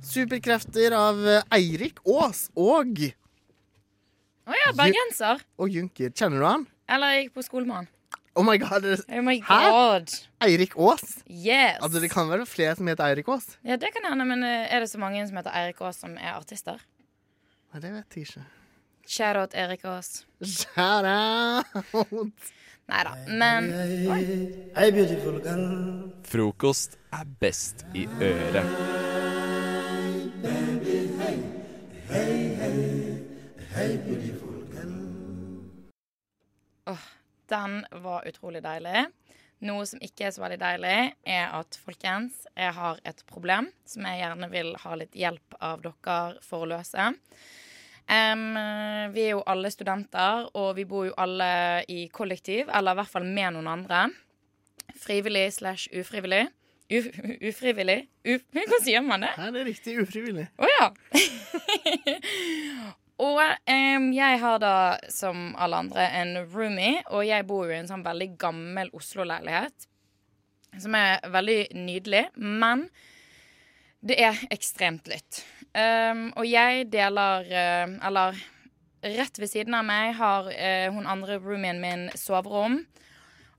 [SPEAKER 2] Superkrefter av eh, Eirik Aas og,
[SPEAKER 4] Å ja, bergenser.
[SPEAKER 2] og Junker. Kjenner du han?
[SPEAKER 4] Eller jeg gikk på skole med han.
[SPEAKER 2] Oh my god, er det
[SPEAKER 4] Oh my
[SPEAKER 2] Hæ?
[SPEAKER 4] god.
[SPEAKER 2] Eirik Aas?
[SPEAKER 4] Yes.
[SPEAKER 2] Altså, det kan være flere som heter Eirik Aas?
[SPEAKER 4] Ja, det kan hende, men eh, er det så mange som heter Eirik Aas som er artister?
[SPEAKER 2] Nei, det vet jeg ikke.
[SPEAKER 4] Shoutout Erik Aas.
[SPEAKER 2] Shout out!
[SPEAKER 4] Nei da, men
[SPEAKER 6] Frokost er best i øret.
[SPEAKER 4] Den var utrolig deilig. Noe som ikke er så veldig deilig, er at folkens, jeg har et problem som jeg gjerne vil ha litt hjelp av dere for å løse. Em, vi er jo alle studenter, og vi bor jo alle i kollektiv, eller i hvert fall med noen andre. Frivillig slash ufrivillig. Uf ufrivillig? Uf Hvordan sier man det?
[SPEAKER 2] Her er det riktig ufrivillig.
[SPEAKER 4] Å ja. og em, jeg har da, som alle andre, en roomie, og jeg bor jo i en sånn veldig gammel Oslo-leilighet. Som er veldig nydelig, men det er ekstremt lytt. Em, og jeg deler eh, Eller rett ved siden av meg har eh, hun andre roomien min soverom.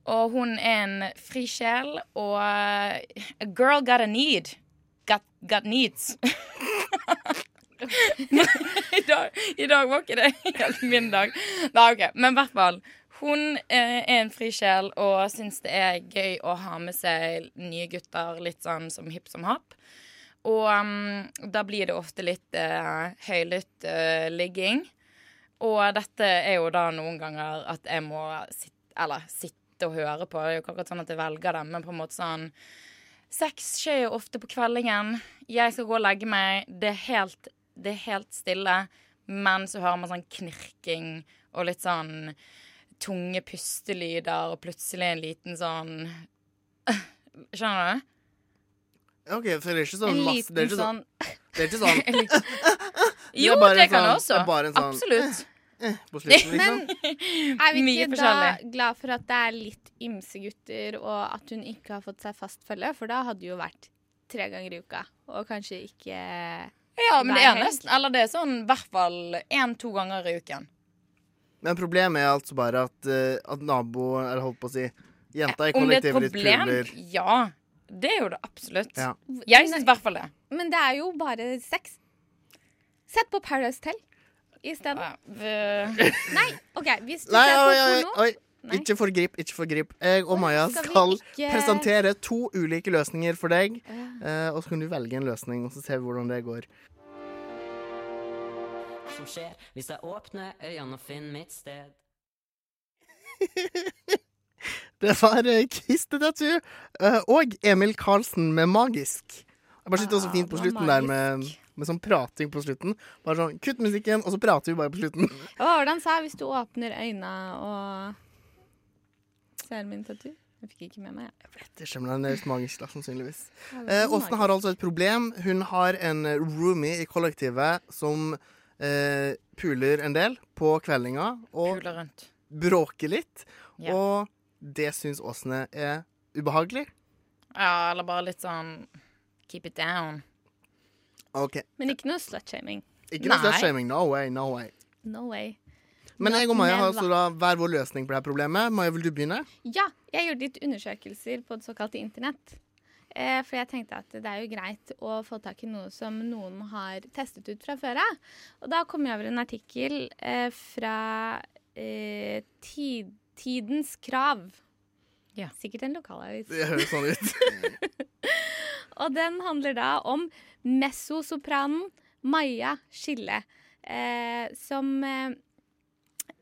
[SPEAKER 4] Og hun er en frisjel, og eh, a girl got a need. Got, got needs. I dag, I dag var ikke det helt min dag. Nei, ok, Men i hvert fall. Hun eh, er en fri sjel og syns det er gøy å ha med seg nye gutter litt sånn som hipp som happ. Og um, da blir det ofte litt eh, høylytt eh, ligging. Og dette er jo da noen ganger at jeg må sitte, eller, sitte og høre på. Det er jo ikke akkurat sånn at jeg velger dem, men på en måte sånn Sex skjer jo ofte på kveldingen. Jeg skal gå og legge meg. Det er helt, det er helt stille. Men så hører man sånn knirking og litt sånn tunge pustelyder, og plutselig en liten sånn Skjønner du?
[SPEAKER 2] OK, for det er ikke sånn
[SPEAKER 3] En
[SPEAKER 2] masse Det er
[SPEAKER 3] liten
[SPEAKER 2] ikke sånn,
[SPEAKER 3] sånn
[SPEAKER 2] det er ikke sånn
[SPEAKER 4] Jo,
[SPEAKER 2] bare
[SPEAKER 4] det
[SPEAKER 2] en
[SPEAKER 4] kan
[SPEAKER 2] sånn-
[SPEAKER 4] det også.
[SPEAKER 2] det er bare en sånn-
[SPEAKER 4] Absolutt.
[SPEAKER 2] på slutten, liksom.
[SPEAKER 3] Er vi
[SPEAKER 4] Mye
[SPEAKER 3] ikke da
[SPEAKER 4] forskjellig.
[SPEAKER 3] glad for at det er litt ymse gutter, og at hun ikke har fått seg fast følge? For da hadde det jo vært tre ganger i uka, og kanskje ikke
[SPEAKER 4] Ja, men
[SPEAKER 3] Hver
[SPEAKER 4] det er
[SPEAKER 3] helg.
[SPEAKER 4] nesten Eller det er sånn i hvert fall én-to ganger i uken.
[SPEAKER 2] Men problemet er altså bare at, eh, at naboen Eller holdt på å si jenta i
[SPEAKER 4] Om det er et
[SPEAKER 2] kollektivet ditt
[SPEAKER 4] problem?
[SPEAKER 2] puler.
[SPEAKER 4] Ja. Det er jo det absolutt.
[SPEAKER 2] Ja.
[SPEAKER 4] Jeg syns i hvert fall det.
[SPEAKER 3] Men det er jo bare sex. Sett på Paradise Tell isteden.
[SPEAKER 4] Ja, vi-
[SPEAKER 3] Nei, OK, hvis du
[SPEAKER 2] Nei,
[SPEAKER 3] ser på
[SPEAKER 2] oi, oi,
[SPEAKER 3] porno
[SPEAKER 2] oi.
[SPEAKER 3] Nei.
[SPEAKER 2] Ikke forgrip, ikke forgrip. Jeg og Maja
[SPEAKER 3] skal vi
[SPEAKER 2] skal
[SPEAKER 3] ikke-
[SPEAKER 2] presentere to ulike løsninger for deg. eh, Og så kan du velge en løsning, og så ser vi hvordan det går.
[SPEAKER 7] som skjer hvis jeg åpner øynene og finner mitt sted.
[SPEAKER 2] Det var eh, Christer Tattoo eh, og Emil Karlsen med 'Magisk'. Jeg bare sitter også
[SPEAKER 3] Ah,
[SPEAKER 2] fint på
[SPEAKER 3] det var
[SPEAKER 2] slutten der med,
[SPEAKER 3] magisk.
[SPEAKER 2] med sånn prating på slutten. Bare sånn, Kutt musikken, og så prater vi bare på slutten.
[SPEAKER 3] Hva var det han sa? Hvis du åpner øynene og ser min tattoo? Jeg fikk ikke med meg, jeg.
[SPEAKER 2] Det skjemmer deg en del magisk, da, sannsynligvis. Eh, Åsne har altså et problem. Hun har en eh, roomie i kollektivet som eh, puler en del på kveldinga og
[SPEAKER 4] Kula rundt.
[SPEAKER 2] bråker litt.
[SPEAKER 4] Ja.
[SPEAKER 2] Og det syns Åsne er ubehagelig.
[SPEAKER 4] Ja, eller bare litt sånn Keep it down.
[SPEAKER 2] OK.
[SPEAKER 3] Men ikke noe slutshaming.
[SPEAKER 2] Ikke noe
[SPEAKER 4] Nei.
[SPEAKER 2] slutshaming. No way, no way.
[SPEAKER 3] No way.
[SPEAKER 2] Men
[SPEAKER 3] Not
[SPEAKER 2] jeg og Maja har
[SPEAKER 3] never.
[SPEAKER 2] altså da hver vår løsning på det her problemet. Maja, vil du begynne?
[SPEAKER 3] Ja, jeg gjorde litt undersøkelser på det såkalte internett. Eh, for jeg tenkte at det er jo greit å få tak i noe som noen har testet ut fra før av. Og da kom jeg over en artikkel eh, fra eh, tid, Tidens Krav.
[SPEAKER 4] Ja.
[SPEAKER 3] Sikkert en lokalavis.
[SPEAKER 2] Det høres sånn ut.
[SPEAKER 3] Og den handler da om messosopranen Maja Skille, eh, som eh,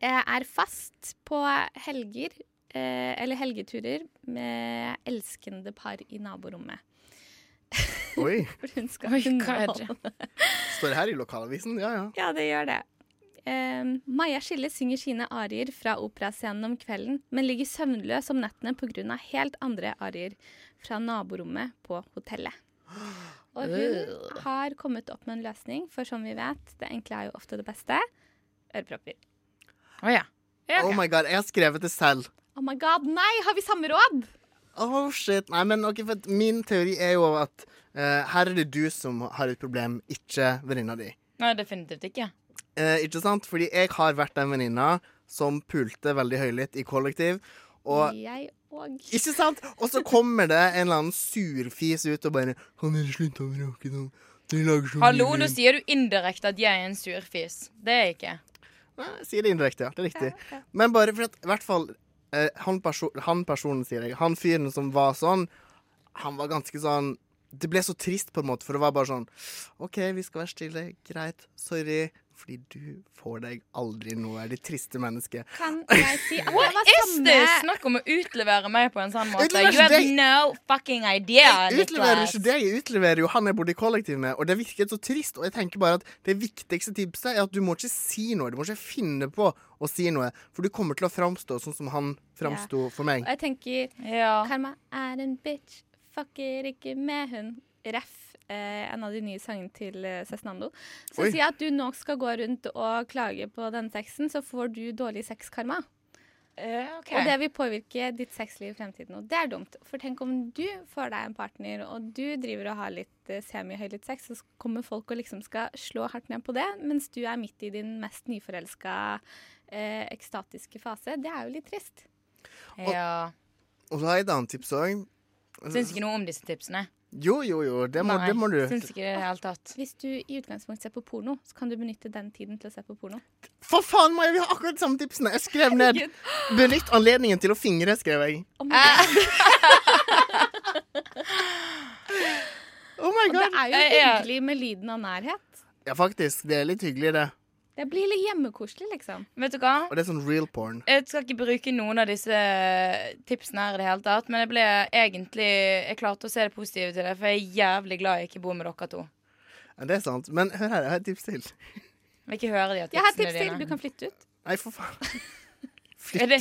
[SPEAKER 3] er fast på helger, eh, eller helgeturer, med elskende par i naborommet.
[SPEAKER 2] Oi.
[SPEAKER 3] For hun skal
[SPEAKER 4] Oi, hva er det?
[SPEAKER 3] underholde.
[SPEAKER 2] Står det her i lokalavisen? Ja, ja.
[SPEAKER 3] Ja, det gjør det. Eh, Maja Skille synger sine arier fra operascenen om kvelden, men ligger søvnløs om nettene pga. helt andre arier fra naborommet på hotellet. Og hun har kommet opp med en løsning, for som vi vet, det enkle er jo ofte det beste. Ørepropper.
[SPEAKER 4] Å ja. Ja, ok.
[SPEAKER 2] Oh my god, jeg har skrevet det selv.
[SPEAKER 3] Oh my god, nei! Har vi samme råd?
[SPEAKER 2] Oh shit. Nei, men ok, for at min teori er jo at eh, her er det du som har et problem, ikke venninna di.
[SPEAKER 4] Nei, definitivt ikke.
[SPEAKER 2] Eh, ikke sant? Fordi jeg har vært den venninna som pulte veldig høylytt i kollektiv. Og
[SPEAKER 3] Jeg òg.
[SPEAKER 2] ikke sant? Og så kommer det en eller annen surfis ut og bare 'Han er slutt å bråke nå. Dere lager så mye
[SPEAKER 4] Hallo, nå
[SPEAKER 2] lyd.»
[SPEAKER 4] sier du indirekte at jeg er en surfis. Det er jeg ikke.
[SPEAKER 2] Nei, jeg sier det indirekte, ja. Det er riktig. Men bare for at, i hvert fall eh, han, perso han personen, sier jeg, han fyren som var sånn, han var ganske sånn Det ble så trist, på en måte, for det var bare sånn OK, vi skal være stille. Greit. Sorry. Fordi du får deg aldri noe, er det triste mennesket.
[SPEAKER 3] Kan jeg si at det var
[SPEAKER 4] Is this
[SPEAKER 3] samme
[SPEAKER 4] snakk om å utlevere meg på en sånn måte?
[SPEAKER 2] Utleverer
[SPEAKER 4] You have
[SPEAKER 2] deg.
[SPEAKER 4] no fucking idea,
[SPEAKER 2] Jeg utleverer
[SPEAKER 4] Niklas.
[SPEAKER 2] ikke deg, jeg utleverer jo han jeg bodde i kollektiv med. Og det virket så trist. Og jeg tenker bare at det viktigste tipset er at du må ikke si noe. Du må ikke finne på å si noe. For du kommer til å framstå sånn som han framsto for meg.
[SPEAKER 3] Og jeg tenker
[SPEAKER 4] Ja.
[SPEAKER 3] Karma er en bitch, fucker ikke med hun. Ref, eh, en av de nye sangene til eh, Cezinando. Så
[SPEAKER 2] Oi.
[SPEAKER 3] sier jeg at du nå skal gå rundt og klage på denne sexen, så får du dårlig sexkarma.
[SPEAKER 4] Eh, ok.
[SPEAKER 3] Og det vil påvirke ditt sexliv i fremtiden. Og det er dumt. For tenk om du får deg en partner, og du driver og har litt eh, semihøylytt sex, så kommer folk og liksom skal slå hardt ned på det, mens du er midt i din mest nyforelska eh, ekstatiske fase. Det er jo litt trist.
[SPEAKER 4] Ja.
[SPEAKER 2] Og så har jeg et annet tips òg.
[SPEAKER 4] Syns ikke noe om disse tipsene.
[SPEAKER 2] Jo, jo, jo. Det må, det må du.
[SPEAKER 4] Syns ikke det i det hele tatt.
[SPEAKER 3] Hvis du i utgangspunktet ser på porno, så kan du benytte den tiden til å se på porno.
[SPEAKER 2] For faen, Maja, vi har akkurat de samme tipsene! Jeg skrev ned 'benytt anledningen til å fingre', skrev jeg.
[SPEAKER 3] Oh my God.
[SPEAKER 2] Oh my
[SPEAKER 3] Og altså, det
[SPEAKER 2] god.
[SPEAKER 3] er sånn- jo
[SPEAKER 4] Eh, ja.
[SPEAKER 3] hyggelig med lyden av nærhet.
[SPEAKER 2] Ja, faktisk. Det er litt hyggelig, det.
[SPEAKER 3] Det blir litt hjemmekoselig, liksom.
[SPEAKER 4] Vet du hva?
[SPEAKER 2] Og det er sånn real porn.
[SPEAKER 4] Jeg skal ikke bruke noen av disse eh, tipsene her i det hele tatt, men jeg ble egentlig Jeg klarte å se det positive til det, for jeg er jævlig glad jeg ikke bor med dere to.
[SPEAKER 2] Ja, det er sant. Men hør her, jeg har et tips til.
[SPEAKER 4] Jeg vil ikke høre de av
[SPEAKER 3] Jeg har et
[SPEAKER 4] tipsene
[SPEAKER 3] tips til. Du
[SPEAKER 4] dine.
[SPEAKER 3] kan flytte ut.
[SPEAKER 2] Nei, for faen.
[SPEAKER 4] Er det,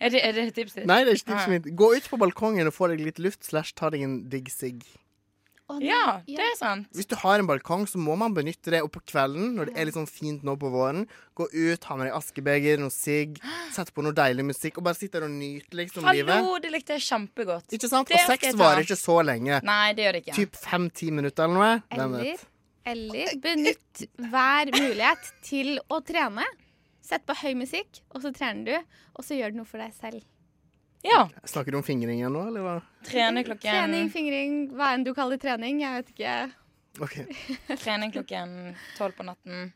[SPEAKER 4] er det, er det et tips til?
[SPEAKER 2] Nei, det er ikke tipset mitt. Gå ut på balkongen og få deg litt luft, slash ta deg en digg sigg.
[SPEAKER 3] Å, nei.
[SPEAKER 4] Ja, det er sant.
[SPEAKER 2] Hvis du har en balkong, så må man benytte det. Og på kvelden, når det er litt sånn fint nå på våren, gå ut, ha med deg askebeger, noe sigg, sett på noe deilig musikk, og bare sitte der og nyte liksom livet.
[SPEAKER 4] Hallo, det likte jeg kjempegodt.
[SPEAKER 2] Ikke sant? Og
[SPEAKER 4] Det skal
[SPEAKER 2] sex
[SPEAKER 4] jeg ta.
[SPEAKER 2] varer ikke så lenge.
[SPEAKER 4] Nei, det gjør det ikke.
[SPEAKER 2] Typ fem-ti minutter eller noe. Hvem vet?
[SPEAKER 3] Eller, eller benytt hver mulighet til å trene. Sett på høy musikk, og så trener du, og så gjør du noe for deg selv.
[SPEAKER 4] Ja.
[SPEAKER 2] Snakker du om fingring igjen nå, eller hva?
[SPEAKER 4] Trene klokken
[SPEAKER 3] Trening, fingring, hva enn du kaller trening. Jeg vet ikke.
[SPEAKER 2] Ok,
[SPEAKER 4] Trening klokken tolv på natten.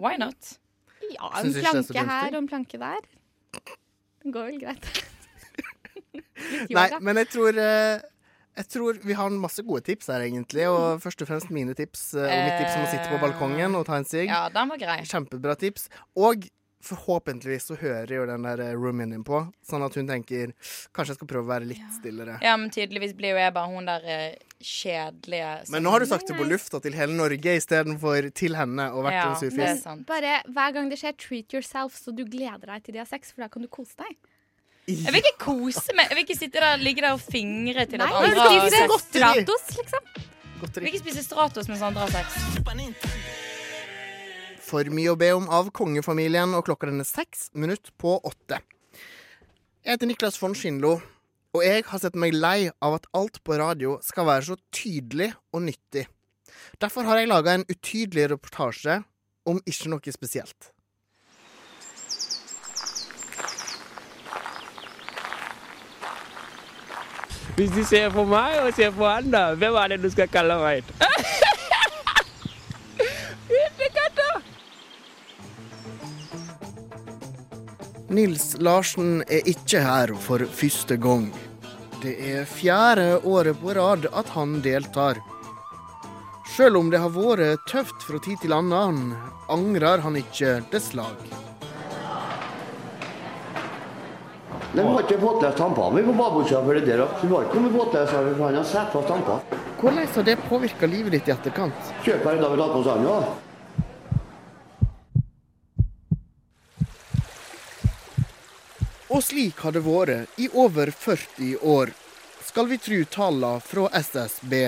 [SPEAKER 4] Why not?
[SPEAKER 3] Ja, en
[SPEAKER 2] Synes ikke det er så
[SPEAKER 3] planke
[SPEAKER 2] gunstig.
[SPEAKER 3] her og en planke der. Det går vel greit. Litt
[SPEAKER 2] Nei,
[SPEAKER 3] yoga.
[SPEAKER 2] men jeg tror eh, Jeg tror vi har masse gode tips her, egentlig. Og først og fremst mine tips eh, og mitt tips om å sitte på balkongen og ta en sigg.
[SPEAKER 4] Ja, den var grei.
[SPEAKER 2] Kjempebra tips. Og forhåpentligvis så hører jo den der eh, roomien din på, sånn at hun tenker kanskje jeg skal prøve å være litt stillere.
[SPEAKER 4] Ja, men tydeligvis blir jo jeg bare hun der eh, kjedelige som-
[SPEAKER 2] Men nå har du sagt det på lufta til hele Norge istedenfor til henne og vært
[SPEAKER 4] ja,
[SPEAKER 2] en
[SPEAKER 4] det er
[SPEAKER 2] surfis.
[SPEAKER 4] sant.
[SPEAKER 3] Bare hver gang det skjer, treat yourself, så du gleder deg til de har sex, for da kan du kose deg.
[SPEAKER 4] Jeg vil ikke kose meg. Jeg vil ikke sitte der, ligge der og fingre til at
[SPEAKER 3] Nei,
[SPEAKER 4] andre
[SPEAKER 2] men det
[SPEAKER 4] har
[SPEAKER 2] er
[SPEAKER 4] sex.
[SPEAKER 2] godt. Godteri.
[SPEAKER 3] Stratos, liksom.
[SPEAKER 4] Jeg vil
[SPEAKER 2] Godteri.
[SPEAKER 4] ikke spise Stratos mens andre har sex.
[SPEAKER 2] For mye å be om av kongefamilien, og klokka den er seks minutt på åtte. Jeg heter Niklas von Schindlo, og jeg har sett meg lei av at alt på radio skal være så tydelig og nyttig. Derfor har jeg laga en utydelig reportasje om ikke noe spesielt.
[SPEAKER 8] Hvis du ser på meg og ser på han, da, hvem er det du skal kalle meg?
[SPEAKER 2] Nils Larsen er ikke her for første gang. Det er fjerde året på rad at han deltar. Sjøl om det har vært tøft fra tid til annen, angrer han ikke det slag.
[SPEAKER 9] Nei, Vi har ikke båtløs tampa vi på babordskapet eller der. Så vi har ikke noe båtløs her, for han har satt fast tampa.
[SPEAKER 2] Hvordan har det påvirka livet ditt i etterkant?
[SPEAKER 9] Kjøper da vi la på oss han, da.
[SPEAKER 2] Og slik har det vært i over 40 år, skal vi tru tallene fra SSB.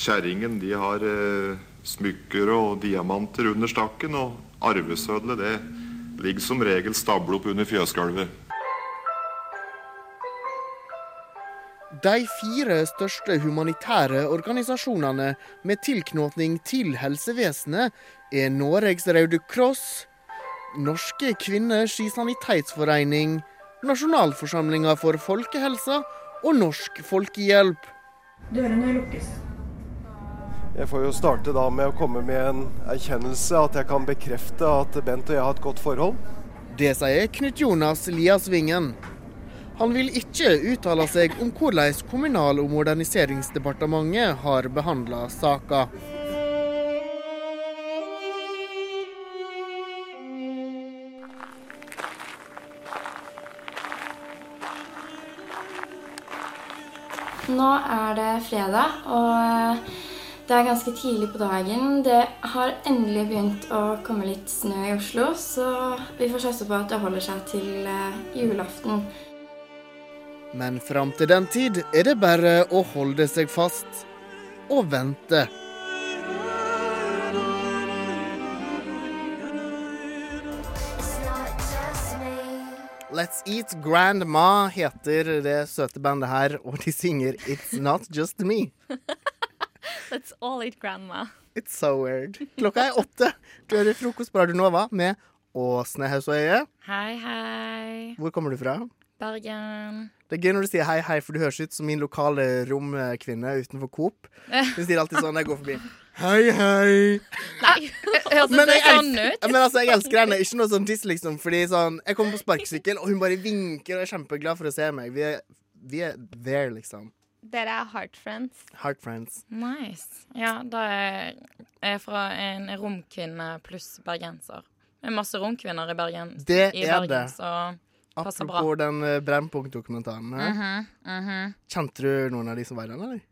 [SPEAKER 10] Kjerringen de har eh, smykker og diamanter under stakken, og arvesødlet det ligger som regel stablet opp under fjøsgulvet.
[SPEAKER 2] De fire største humanitære organisasjonene med tilknytning til helsevesenet er Norges Røde Kross, Norske Kvinners Sanitetsforening, Nasjonalforsamlinga for folkehelsa og Norsk Folkehjelp.
[SPEAKER 9] Jeg får jo starte da med å komme med en erkjennelse at jeg kan bekrefte at Bent og jeg har et godt forhold.
[SPEAKER 2] Det sier Knut Jonas Liasvingen. Han vil ikke uttale seg om hvordan Kommunal- og moderniseringsdepartementet har behandla saka.
[SPEAKER 11] Nå er det fredag, og eh, det er ganske tidlig på dagen. Det har endelig begynt å komme litt snø i Oslo, så vi får satse på at det holder seg til eh, julaften.
[SPEAKER 2] Men fram til den tid er det bare å holde seg fast og vente. Let's Eat Grandma heter det søte bandet her, og de synger It's Not Just Me.
[SPEAKER 3] Let's all eat grandma.
[SPEAKER 2] It's so weird. Klokka er åtte. Du hører frokost på Radio Nova med Åsne Hausøye.
[SPEAKER 4] Hei, hei.
[SPEAKER 2] Hvor kommer du fra?
[SPEAKER 4] Bergen.
[SPEAKER 2] Det er gøy når du sier hei, hei, for du høres ut som min lokale romkvinne utenfor Coop. Hun sier alltid sånn når jeg går forbi. Hei, hei.
[SPEAKER 4] Nei, hørtes det
[SPEAKER 2] jeg
[SPEAKER 4] sånn
[SPEAKER 2] elsker-
[SPEAKER 4] ut?
[SPEAKER 2] men altså, jeg elsker henne. Ikke noe sånn diss, liksom. Fordi sånn, Jeg kommer på sparkesykkel, og hun bare vinker og er kjempeglad for å se meg. Vi er, vi er there, liksom.
[SPEAKER 3] Dere er heart friends.
[SPEAKER 2] Heart friends.
[SPEAKER 4] Nice. Ja, da er jeg fra en romkvinne pluss bergenser. Det er masse romkvinner i Bergen.
[SPEAKER 2] Det
[SPEAKER 4] i
[SPEAKER 2] er
[SPEAKER 4] Bergen,
[SPEAKER 2] det.
[SPEAKER 4] Så passer bra. Mhm,
[SPEAKER 2] Apropos den eh, Brennpunkt-dokumentaren. eh. Kjente du noen av de som var i den, eller?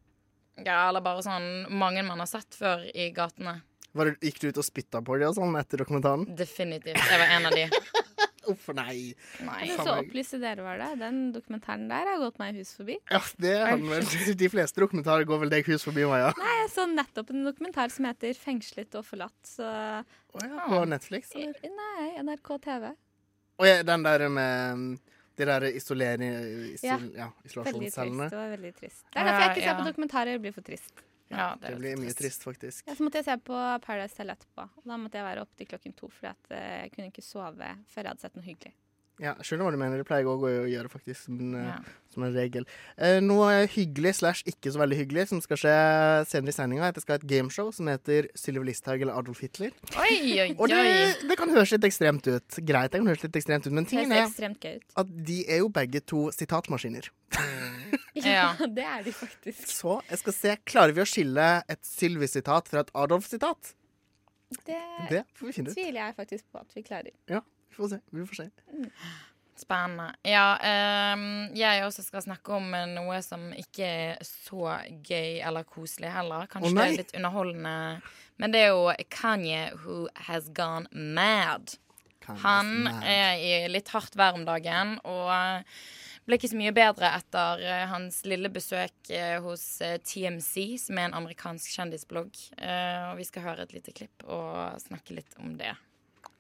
[SPEAKER 4] Ja, eller bare sånn mange man har sett før i gatene.
[SPEAKER 2] Var det, gikk du ut og spytta på de og sånn etter dokumentaren?
[SPEAKER 4] Definitivt. Jeg var en av de.
[SPEAKER 2] Uff, nei.
[SPEAKER 4] Nei.
[SPEAKER 3] Men Så opplyste dere var det. Den dokumentaren der har gått meg hus forbi.
[SPEAKER 2] Ja, det hadde vel De fleste dokumentarer går vel deg hus forbi, Maja.
[SPEAKER 3] Nei, jeg så nettopp en dokumentar som heter 'Fengslet og forlatt'. Så
[SPEAKER 2] Å ja, på Netflix, eller?
[SPEAKER 3] Nei, NRK TV.
[SPEAKER 2] Og ja, den der med mm, De der isolering... Isol, ja,
[SPEAKER 3] Veldig trist.
[SPEAKER 2] isolasjonscellene.
[SPEAKER 3] Det var veldig trist. Det er derfor jeg ikke
[SPEAKER 4] Ja,
[SPEAKER 3] ser på
[SPEAKER 4] ja.
[SPEAKER 3] dokumentarer. Det blir for trist.
[SPEAKER 4] Ja,
[SPEAKER 2] Det
[SPEAKER 4] er
[SPEAKER 2] blir
[SPEAKER 4] litt
[SPEAKER 2] mye trist, faktisk.
[SPEAKER 3] Ja, så måtte jeg se på Paradise Tell etterpå. Og da måtte jeg være oppe til klokken to, fordi at eh, jeg kunne ikke sove før jeg hadde sett noe hyggelig.
[SPEAKER 2] Ja, skjønner hva du mener. Det pleier jeg òg å gjøre, faktisk. Men, eh,
[SPEAKER 4] Ja.
[SPEAKER 2] Som en regel. Eh, noe hyggelig slash ikke så veldig hyggelig som skal skje senere i sendinga, er at jeg skal ha et gameshow som heter Sylvi Listhaug eller Adolf Hitler.
[SPEAKER 4] Oi, oi,
[SPEAKER 2] Og det,
[SPEAKER 4] oi.
[SPEAKER 2] det kan høres litt ekstremt ut. Greit, det kan høres litt ekstremt ut, men
[SPEAKER 3] Det
[SPEAKER 2] tingen
[SPEAKER 3] høres
[SPEAKER 2] er
[SPEAKER 3] ekstremt gøy ut.
[SPEAKER 2] at de er jo begge to sitatmaskiner.
[SPEAKER 4] Ja.
[SPEAKER 3] det er de faktisk.
[SPEAKER 2] Så jeg skal se Klarer vi å skille et Sylvi-sitat fra et Adolf-sitat?
[SPEAKER 3] Det,
[SPEAKER 2] Det får vi finne ut.
[SPEAKER 3] tviler jeg faktisk på at vi klarer.
[SPEAKER 2] Ja, vi får se. Vi får se.
[SPEAKER 4] Spennende. Ja, ehm, jeg også skal snakke om eh, noe som ikke er så gøy eller koselig heller. Kanskje
[SPEAKER 12] Å,
[SPEAKER 4] det
[SPEAKER 12] nei.
[SPEAKER 4] er litt underholdende. Men det er jo Kanye who has gone mad.
[SPEAKER 12] Kanye's
[SPEAKER 4] Han
[SPEAKER 12] mad.
[SPEAKER 4] er i litt hardt vær om dagen og eh, ble ikke så mye bedre etter eh, hans lille besøk eh, hos eh, TMC, som er en amerikansk kjendisblogg. Eh, og vi skal høre et lite klipp og snakke litt om det.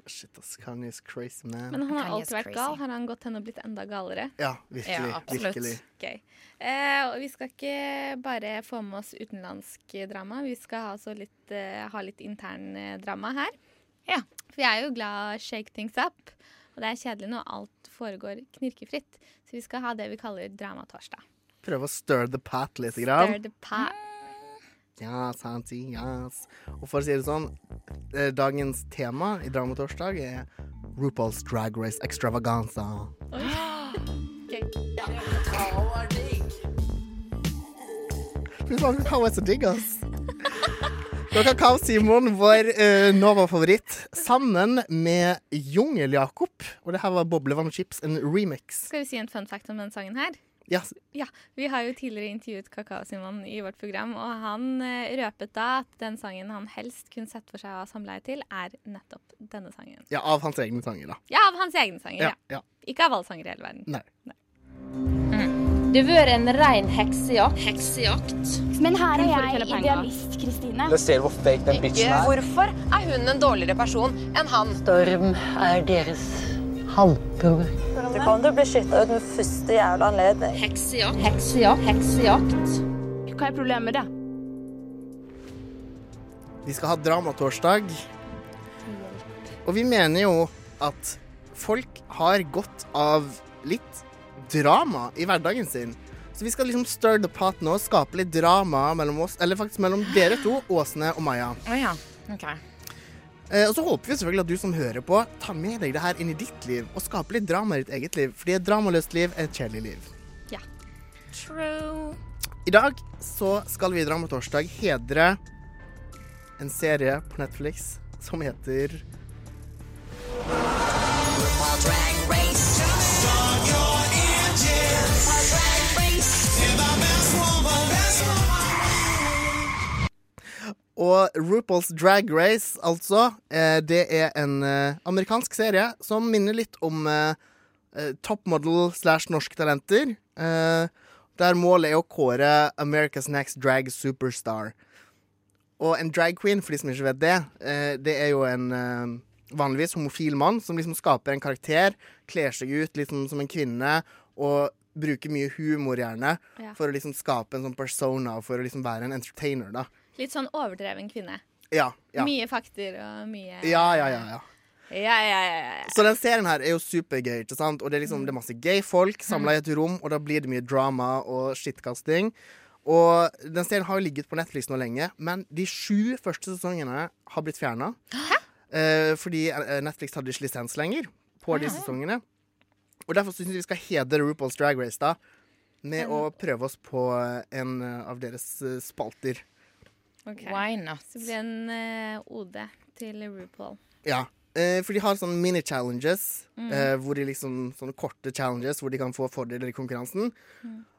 [SPEAKER 2] Shit, ass. Kanye's crazy man.
[SPEAKER 3] Men han har
[SPEAKER 4] Kanye's
[SPEAKER 3] alltid vært gal. Har han gått hen og blitt enda galere?
[SPEAKER 2] Ja, virkelig.
[SPEAKER 3] Ja, absolutt.
[SPEAKER 2] virkelig.
[SPEAKER 3] Gøy. Eh, og vi skal ikke bare få med oss utenlandsk eh, drama, vi skal ha, så litt, eh, ha litt intern eh, drama her. For jeg er jo glad i shake things up, og det er kjedelig når alt foregår knirkefritt. Så vi skal ha det vi kaller dramatorsdag.
[SPEAKER 2] Prøve å stir the pat litt. Grann.
[SPEAKER 3] Stir the pot.
[SPEAKER 2] Ja, sant, yes. Og for å si det sånn, eh, dagens tema i Dramatorsdag er RuPaul's Drag Race Extravaganza. Fy faen, Kakao er så digg, ass. Det var Kakao Simon, vår eh, Nova-favoritt, sammen med Jungel-Jakob. Og det her var Boblevann Chips, en remix.
[SPEAKER 3] Skal vi si en fun fact om den sangen her?
[SPEAKER 2] Ja,
[SPEAKER 3] Ja, Vi har jo tidligere intervjuet Kakao-Simon i vårt program, og han eh, røpet da at den sangen han helst kunne sett for seg å ha samleie til, er nettopp denne sangen.
[SPEAKER 2] ja, av hans egne sanger, da.
[SPEAKER 3] Ja, av hans egne sanger.
[SPEAKER 2] Ja,
[SPEAKER 3] Ja.
[SPEAKER 2] ja.
[SPEAKER 3] Ikke av alle sanger i hele verden.
[SPEAKER 2] Nei.
[SPEAKER 13] Det har vært en ren heksejakt. Men her er jeg idealist, Kristine.
[SPEAKER 14] Dere ser hvor fake den bitchen er.
[SPEAKER 13] Hvorfor er hun en dårligere person enn han?
[SPEAKER 15] Storm er deres halvbror.
[SPEAKER 13] Du kan du bli skytta ut med første jævla anledning. Heksejakt. Heksejakt. Heksejakt. Hva er problemet med det?
[SPEAKER 2] Vi skal ha Dramatorsdag. Og vi mener jo at folk har godt av litt drama i hverdagen sin. Så vi skal liksom stir the pot nå, skape litt drama mellom oss, eller faktisk mellom dere to, Åsne og Maja.
[SPEAKER 4] Å ja. OK.
[SPEAKER 2] Eh, og så håper vi selvfølgelig at du som hører på, tar med deg det her inn i ditt liv, og skaper litt drama i ditt eget liv. Fordi et dramaløst liv er et kjedelig liv.
[SPEAKER 3] Ja. True.
[SPEAKER 2] I dag så skal vi i Dramatorsdag hedre en serie på Netflix som heter Og RuPaul's Drag Race, altså, eh, det er en eh, amerikansk serie som minner litt om eh, eh, Top Model slash Norske Talenter. Eh, der målet er å kåre America's Next Drag Superstar. Og en drag queen, for de som ikke vet det, eh, det er jo en eh, vanligvis homofil mann som liksom skaper en karakter, kler seg ut liksom som en kvinne og bruker mye humor gjerne
[SPEAKER 3] Ja.
[SPEAKER 2] for å liksom skape en sånn persona, for å liksom være en entertainer, da.
[SPEAKER 3] Litt sånn overdreven kvinne.
[SPEAKER 2] Ja, ja.
[SPEAKER 3] Mye fakter og mye
[SPEAKER 2] Ja, ja, ja, ja.
[SPEAKER 3] ja, ja, ja, ja.
[SPEAKER 2] Så den serien her er jo supergøy, ikke sant? Og det er liksom det er masse gay folk samla i et rom, og da blir det mye drama og skittkasting. Og den serien har jo ligget på Netflix nå lenge, men de sju første sesongene har blitt fjerna. Eh, fordi eh, Netflix hadde ikke lisens lenger på de sesongene. Og derfor syns jeg vi skal hedre RuPaul's Drag Race da med
[SPEAKER 4] Men-
[SPEAKER 2] å prøve oss på en eh, av deres eh, spalter.
[SPEAKER 3] Ok.
[SPEAKER 4] Why not?
[SPEAKER 3] Så blir det en eh, OD til RuPaul.
[SPEAKER 2] Ja, eh, for de har sånne mini-challenges,
[SPEAKER 3] Mm.
[SPEAKER 2] eh, hvor de liksom, sånne korte challenges hvor de kan få fordeler i konkurransen.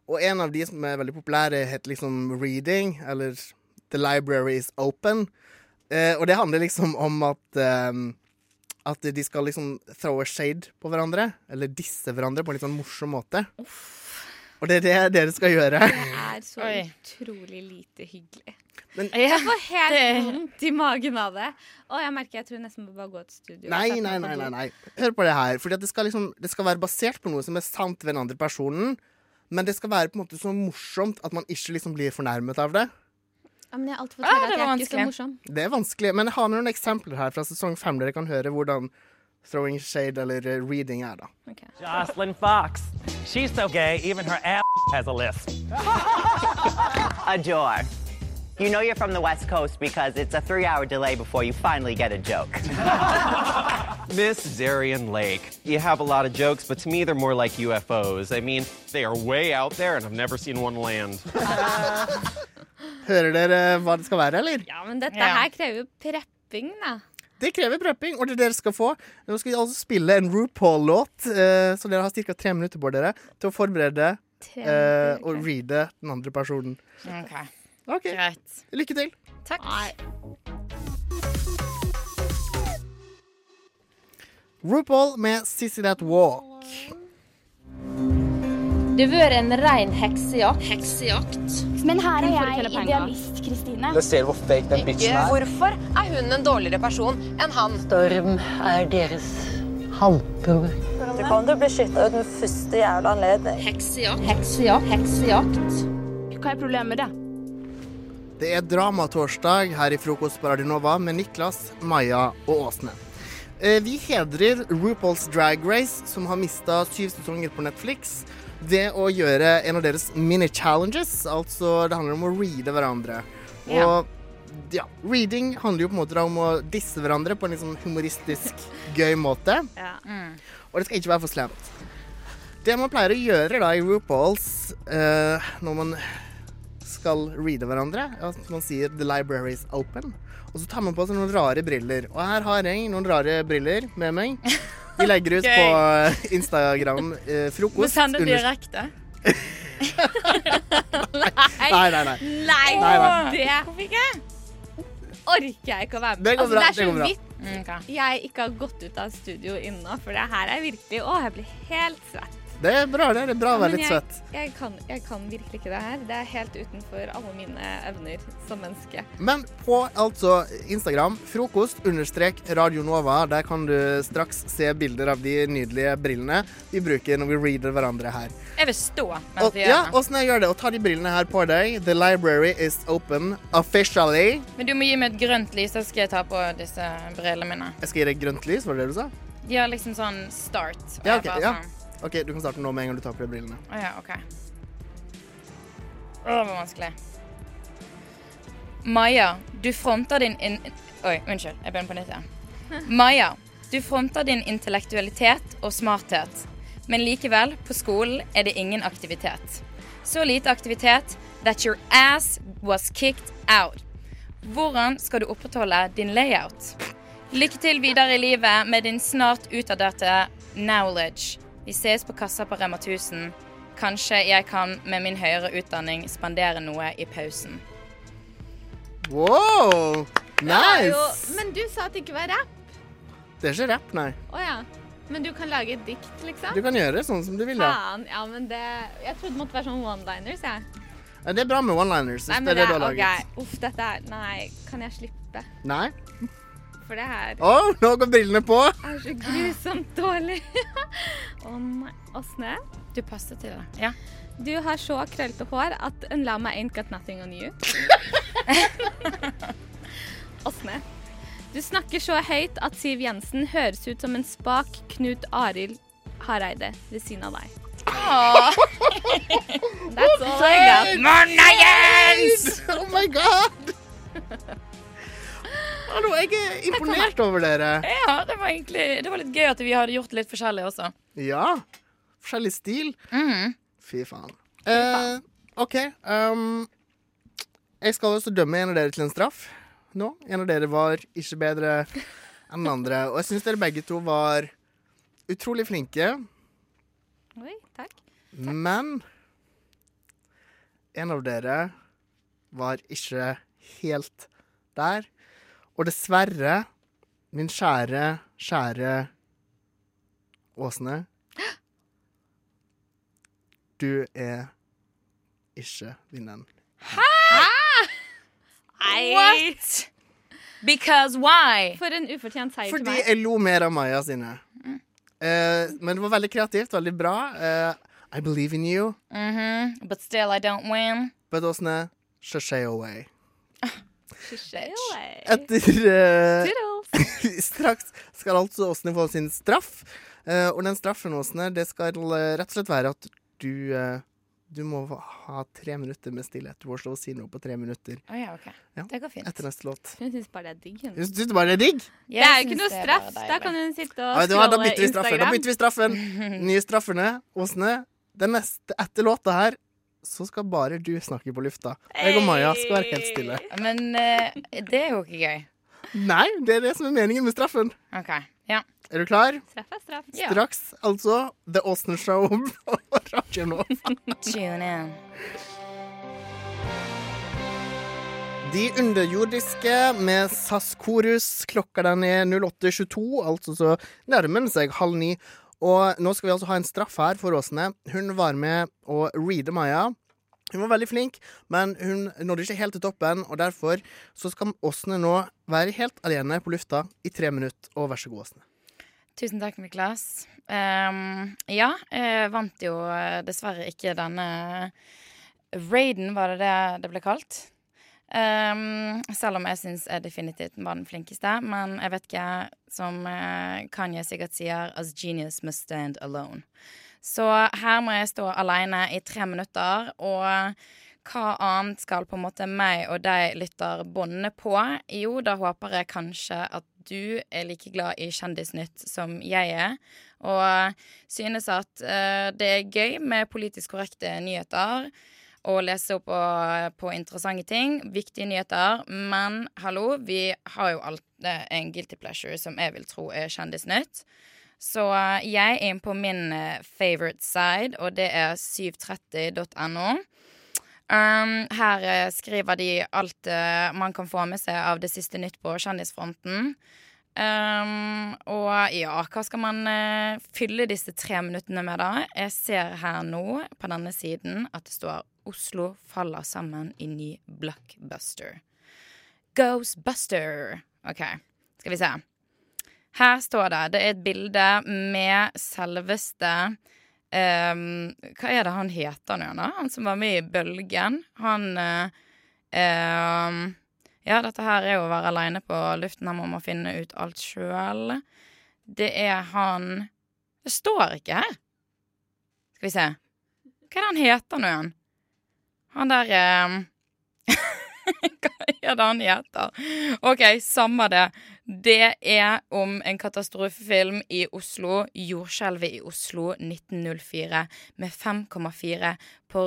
[SPEAKER 2] Og en av de som er veldig populære, heter liksom Reading, eller The Library is Open. Eh, og det handler liksom om at eh, at de skal liksom throw a shade på hverandre, eller disse hverandre på en litt sånn morsom måte. Og det er det dere skal gjøre.
[SPEAKER 3] Det er så
[SPEAKER 4] Oi.
[SPEAKER 3] utrolig lite hyggelig.
[SPEAKER 2] Men-
[SPEAKER 3] jeg får
[SPEAKER 4] Det-
[SPEAKER 3] helt vondt i magen av det. Og jeg merker jeg tror jeg nesten må bare gå til studio. og
[SPEAKER 2] Nei,
[SPEAKER 3] sette
[SPEAKER 2] nei,
[SPEAKER 3] meg på
[SPEAKER 2] nei, nei,
[SPEAKER 3] do.
[SPEAKER 2] nei. Hør på det her. Fordi at det, skal liksom, det skal være basert på noe som er sant ved den andre personen, men det skal være på en måte så morsomt at man ikke liksom blir fornærmet av det.
[SPEAKER 3] Ja, men jeg har alltid fått
[SPEAKER 4] Ah,
[SPEAKER 3] høre at
[SPEAKER 4] det
[SPEAKER 3] jeg
[SPEAKER 4] var
[SPEAKER 3] er ikke så
[SPEAKER 4] vanskelig.
[SPEAKER 3] morsom.
[SPEAKER 2] Det er vanskelig. Men jeg har noen eksempler her fra sesong fem. Dere kan høre hvordan throwing shade eller eh, reading er, da.
[SPEAKER 16] Jocelyn Fox. She's so gay, even her ass has a lisp.
[SPEAKER 17] Adore. You know you're from the West Coast because it's a three hour delay before you finally get a joke.
[SPEAKER 14] Miss Zarian Lake. You have a lot of jokes, but to me, they're more like UFOs. I mean, they are way out there, and I've never seen one land.
[SPEAKER 2] Hører dere eh, hva det skal være, eller?
[SPEAKER 3] Ja, men dette
[SPEAKER 4] Ja.
[SPEAKER 3] her krever jo prepping, da.
[SPEAKER 2] Det krever prepping, og det dere skal få. Nå skal vi altså spille en RuPaul-låt, eh, så dere har ca. tre minutter på dere til å forberede
[SPEAKER 3] Tre
[SPEAKER 2] eh, og reade den andre personen.
[SPEAKER 4] OK.
[SPEAKER 2] Greit. Lykke til.
[SPEAKER 4] Takk.
[SPEAKER 2] RuPaul med Sissy That Walk.
[SPEAKER 13] Det har vært en rein heksejakt.
[SPEAKER 12] Men her er
[SPEAKER 13] Hun får
[SPEAKER 12] jeg
[SPEAKER 13] ikke hele penger.
[SPEAKER 12] idealist, Kristine.
[SPEAKER 15] Dere ser hvor fake den bitchen er.
[SPEAKER 12] Hvorfor er hun en dårligere person enn han?
[SPEAKER 15] Storm er deres halvbror.
[SPEAKER 18] Du kan du bli skytta ut med første jævla anledning.
[SPEAKER 13] Heksejakt. Heksejakt. Heksejakt.
[SPEAKER 12] Hva er problemet med det?
[SPEAKER 2] Det er Dramatorsdag her i Frokost på Radio Nova med Niklas, Maja og Åsne. Eh, Vi hedrer RuPaul's Drag Race, som har mista syv sesonger på Netflix, ved å gjøre en av deres mini-challenges. Altså, det handler om å reade hverandre.
[SPEAKER 4] Ja.
[SPEAKER 2] Og ja, reading handler jo på en måte da om å disse hverandre på en litt sånn humoristisk, gøy måte. Og det skal ikke være for slemt. Det man pleier å gjøre da i RuPauls eh, når man skal reade hverandre, er at man sier 'the library is open', og så tar man på seg noen rare briller. Og her har jeg noen rare briller med meg. Vi legger ut
[SPEAKER 4] Gøy.
[SPEAKER 2] på eh, Instagram eh, frokost.
[SPEAKER 4] Må sende
[SPEAKER 2] under-
[SPEAKER 4] direkte.
[SPEAKER 2] Nei, nei, nei.
[SPEAKER 3] Nei,
[SPEAKER 2] Nei, nei.
[SPEAKER 3] det Hvorfor ikke? orker jeg ikke å være med.
[SPEAKER 2] Det går bra,
[SPEAKER 3] altså, det
[SPEAKER 2] det
[SPEAKER 3] er
[SPEAKER 2] går
[SPEAKER 3] så
[SPEAKER 2] bra.
[SPEAKER 3] vidt jeg ikke har gått ut av studio ennå, for det her er virkelig Å, jeg blir helt svett.
[SPEAKER 2] Det er bra, det. Det er bra å
[SPEAKER 3] Ja,
[SPEAKER 2] være
[SPEAKER 3] men
[SPEAKER 2] litt
[SPEAKER 3] jeg,
[SPEAKER 2] søt.
[SPEAKER 3] jeg, kan, jeg kan virkelig ikke det her. Det er helt utenfor alle mine evner som menneske.
[SPEAKER 2] Men på altså Instagram, frokost understrek Radio Nova, der kan du straks se bilder av de nydelige brillene vi bruker når vi reader hverandre her.
[SPEAKER 4] Jeg vil stå mens
[SPEAKER 2] Og,
[SPEAKER 4] vi
[SPEAKER 2] ja,
[SPEAKER 4] gjør det.
[SPEAKER 2] åssen jeg gjør det? Og ta de brillene her på deg. The library is open officially.
[SPEAKER 4] Men du må gi meg et grønt lys, så skal jeg ta på disse brillene mine.
[SPEAKER 2] Jeg skal gi deg grønt lys, var det det du sa?
[SPEAKER 4] De har liksom sånn start. og
[SPEAKER 2] Ja,
[SPEAKER 4] jeg
[SPEAKER 2] OK.
[SPEAKER 4] bare
[SPEAKER 2] Ja.
[SPEAKER 4] sånn,
[SPEAKER 2] Ok, Du kan starte nå med en gang du tar på deg brillene.
[SPEAKER 4] Å ja, OK. Å, det var vanskelig. Maja, du fronter din in... Oi, unnskyld. Jeg begynner på nytt igjen. Maja, du fronter din intellektualitet og smarthet. Men likevel, på skolen er det ingen aktivitet. Så lite aktivitet that your ass was kicked out. Hvordan skal du opprettholde din layout? Lykke til videre i livet med din snart utdaterte knowledge. Vi ses på kassa på Rema 1000. Kanskje jeg kan med min høyere utdanning spandere noe i pausen.
[SPEAKER 2] Wow!
[SPEAKER 3] Det er
[SPEAKER 2] Nice!
[SPEAKER 3] jo- Men du sa at det ikke var rapp.
[SPEAKER 2] Det er ikke rapp, nei.
[SPEAKER 3] Å ja. Men du kan lage et dikt, liksom?
[SPEAKER 2] Du kan gjøre sånn som du vil, ja.
[SPEAKER 3] Faen. Ja, men det Jeg trodde det måtte være sånn one-liners, jeg.
[SPEAKER 2] Ja, Det er bra med one-liners. hvis
[SPEAKER 3] Nei,
[SPEAKER 2] det
[SPEAKER 3] men
[SPEAKER 2] er det du har
[SPEAKER 3] ok.
[SPEAKER 2] laget.
[SPEAKER 3] Uff, dette er Nei, kan jeg slippe?
[SPEAKER 2] Nei?
[SPEAKER 3] For det her
[SPEAKER 2] Å, nå går brillene på!
[SPEAKER 3] er så grusomt dårlig. Å nei. Åsne?
[SPEAKER 4] Du passer til det. Ja.
[SPEAKER 3] Du har så krøllete hår at en lama ain't got nothing on you. Åsne. Du snakker så høyt at Siv Jensen høres ut som en spak Knut Arild Hareide ved siden av deg.
[SPEAKER 2] Ah.
[SPEAKER 4] Åh.
[SPEAKER 3] That's all I got.
[SPEAKER 2] Mondagens! Oh my god! Hallo, jeg er imponert over dere.
[SPEAKER 4] Ja, det var egentlig det var litt gøy at vi hadde gjort det litt forskjellig også.
[SPEAKER 2] Ja. Forskjellig stil. Mhm. Fy faen. Eh, OK. Um, jeg skal også dømme en av dere til en straff nå. En av dere var ikke bedre enn den andre. Og jeg syns dere begge to var utrolig flinke,
[SPEAKER 3] Oi, takk.
[SPEAKER 2] men en av dere var ikke helt der. Og dessverre, min kjære, kjære Åsne Du er ikke vinneren.
[SPEAKER 4] What? Because why?
[SPEAKER 3] For en ufortjent seier til
[SPEAKER 2] Fordi
[SPEAKER 3] meg.
[SPEAKER 2] jeg lo mer av Maja sine. Eh, men det var veldig kreativt, veldig bra. Eh, I believe in you.
[SPEAKER 4] Mhm, But still I don't win.
[SPEAKER 2] But Åsne, sashay away.
[SPEAKER 3] Shay away.
[SPEAKER 2] Etter eh,
[SPEAKER 3] Toodles.
[SPEAKER 2] Straks skal altså Åsne få sin straff. Eh, og den straffen, Åsne, det skal eh, rett og slett være at du eh, du må ha tre minutter med stillhet. Du må slå og si noe på tre minutter
[SPEAKER 4] Å ja, OK.
[SPEAKER 2] Ja,
[SPEAKER 4] Det går fint.
[SPEAKER 2] etter neste låt.
[SPEAKER 3] Hun syns bare det er digg, hun.
[SPEAKER 2] Syns du bare det er digg?
[SPEAKER 3] Det er jo ikke noe straff. Da kan hun sitte
[SPEAKER 2] Ja,
[SPEAKER 3] og
[SPEAKER 2] vet du hva, da
[SPEAKER 3] scrolle
[SPEAKER 2] bytter vi straffen. Da
[SPEAKER 3] Instagram.
[SPEAKER 2] bytter vi straffen. Nye straffene. Åsne, den neste etter låta her, så skal bare du snakke på lufta. Jeg og Maja skal være helt stille.
[SPEAKER 4] Men eh, det er jo ikke gøy.
[SPEAKER 2] Nei, det er det som er meningen med straffen.
[SPEAKER 4] Ok, ja.
[SPEAKER 2] Er du klar?
[SPEAKER 4] Straff er straff.
[SPEAKER 2] Straks, altså, The Austen Show og Radio Nova.
[SPEAKER 4] Tune in.
[SPEAKER 2] De underjordiske med SAS Korus. Klokka den er 08.22, altså så nærmer den seg halv ni. Og nå skal vi altså ha en straff her for Åsne. Hun var med å reade Maja. Hun var veldig flink, men hun nådde ikke helt til toppen, og derfor så skal Åsne nå være helt alene på lufta i tre minutter. Og vær så god, Åsne.
[SPEAKER 4] Tusen takk, Niklas. Ehm, ja, jeg vant jo eh, dessverre ikke denne raiden, var det det det ble kalt. Ehm, selv om jeg syns jeg definitivt var den flinkeste. Men jeg vet ikke, som eh, Kanye sikkert sier, as genius must stand alone. Så her må jeg stå alene i tre minutter, og hva annet skal på en måte meg og deg lytter båndene på? Jo, da håper jeg kanskje at du er like glad i Kjendisnytt som jeg er, og synes at eh, det er gøy med politisk korrekte nyheter og lese opp og, på interessante ting, viktige nyheter, men hallo, vi har jo alt eh, en guilty pleasure som jeg vil tro er Kjendisnytt. Så eh, jeg er inne på min eh, favorite side, og det er 730.no. Um, her eh, skriver de alt eh, man kan få med seg av det siste nytt på kjendisfronten. Um, og ja, hva skal man eh, fylle disse tre minuttene med, da? Jeg ser her nå på denne siden at det står 'Oslo faller sammen i ny blockbuster'. Ghostbuster. OK, skal vi se. Her står det Det er et bilde med selveste ehm, Hva er det han heter nå, da? Han som var med i Bølgen. Han eh, ehm, Ja, dette her er jo å være aleine på luften. Her må man finne ut alt sjøl. Det er han Det står ikke her. Skal vi se. Hva er det han heter nå igjen? Han der ehm, hva er det han heter? OK, samme det. Det er om en katastrofefilm i Oslo. Jordskjelvet i Oslo 1904 med 5,4 på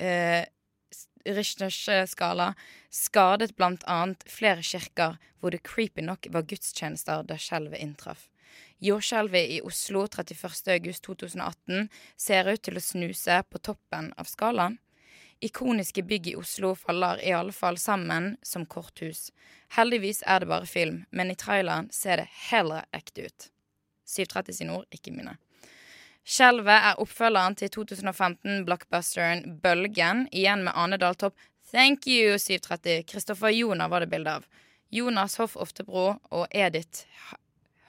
[SPEAKER 4] eh, Richters eh, skala. Skadet blant annet flere kirker hvor det creepy nok var gudstjenester da skjelvet inntraff. Jordskjelvet i Oslo 31.8.2018 ser ut til å snuse på toppen av skalaen. Ikoniske bygg i Oslo faller i alle fall sammen som korthus. Heldigvis er det bare film, men i traileren ser det heller ekte ut. 730 sine ord, ikke mine. Skjelvet er oppfølgeren til 2015-blockbusteren Bølgen, igjen med Ane Dahl Topp. Thank you, 730. Kristoffer Joner var det bilde av. Jonas Hoff Oftebro og Edith Ha-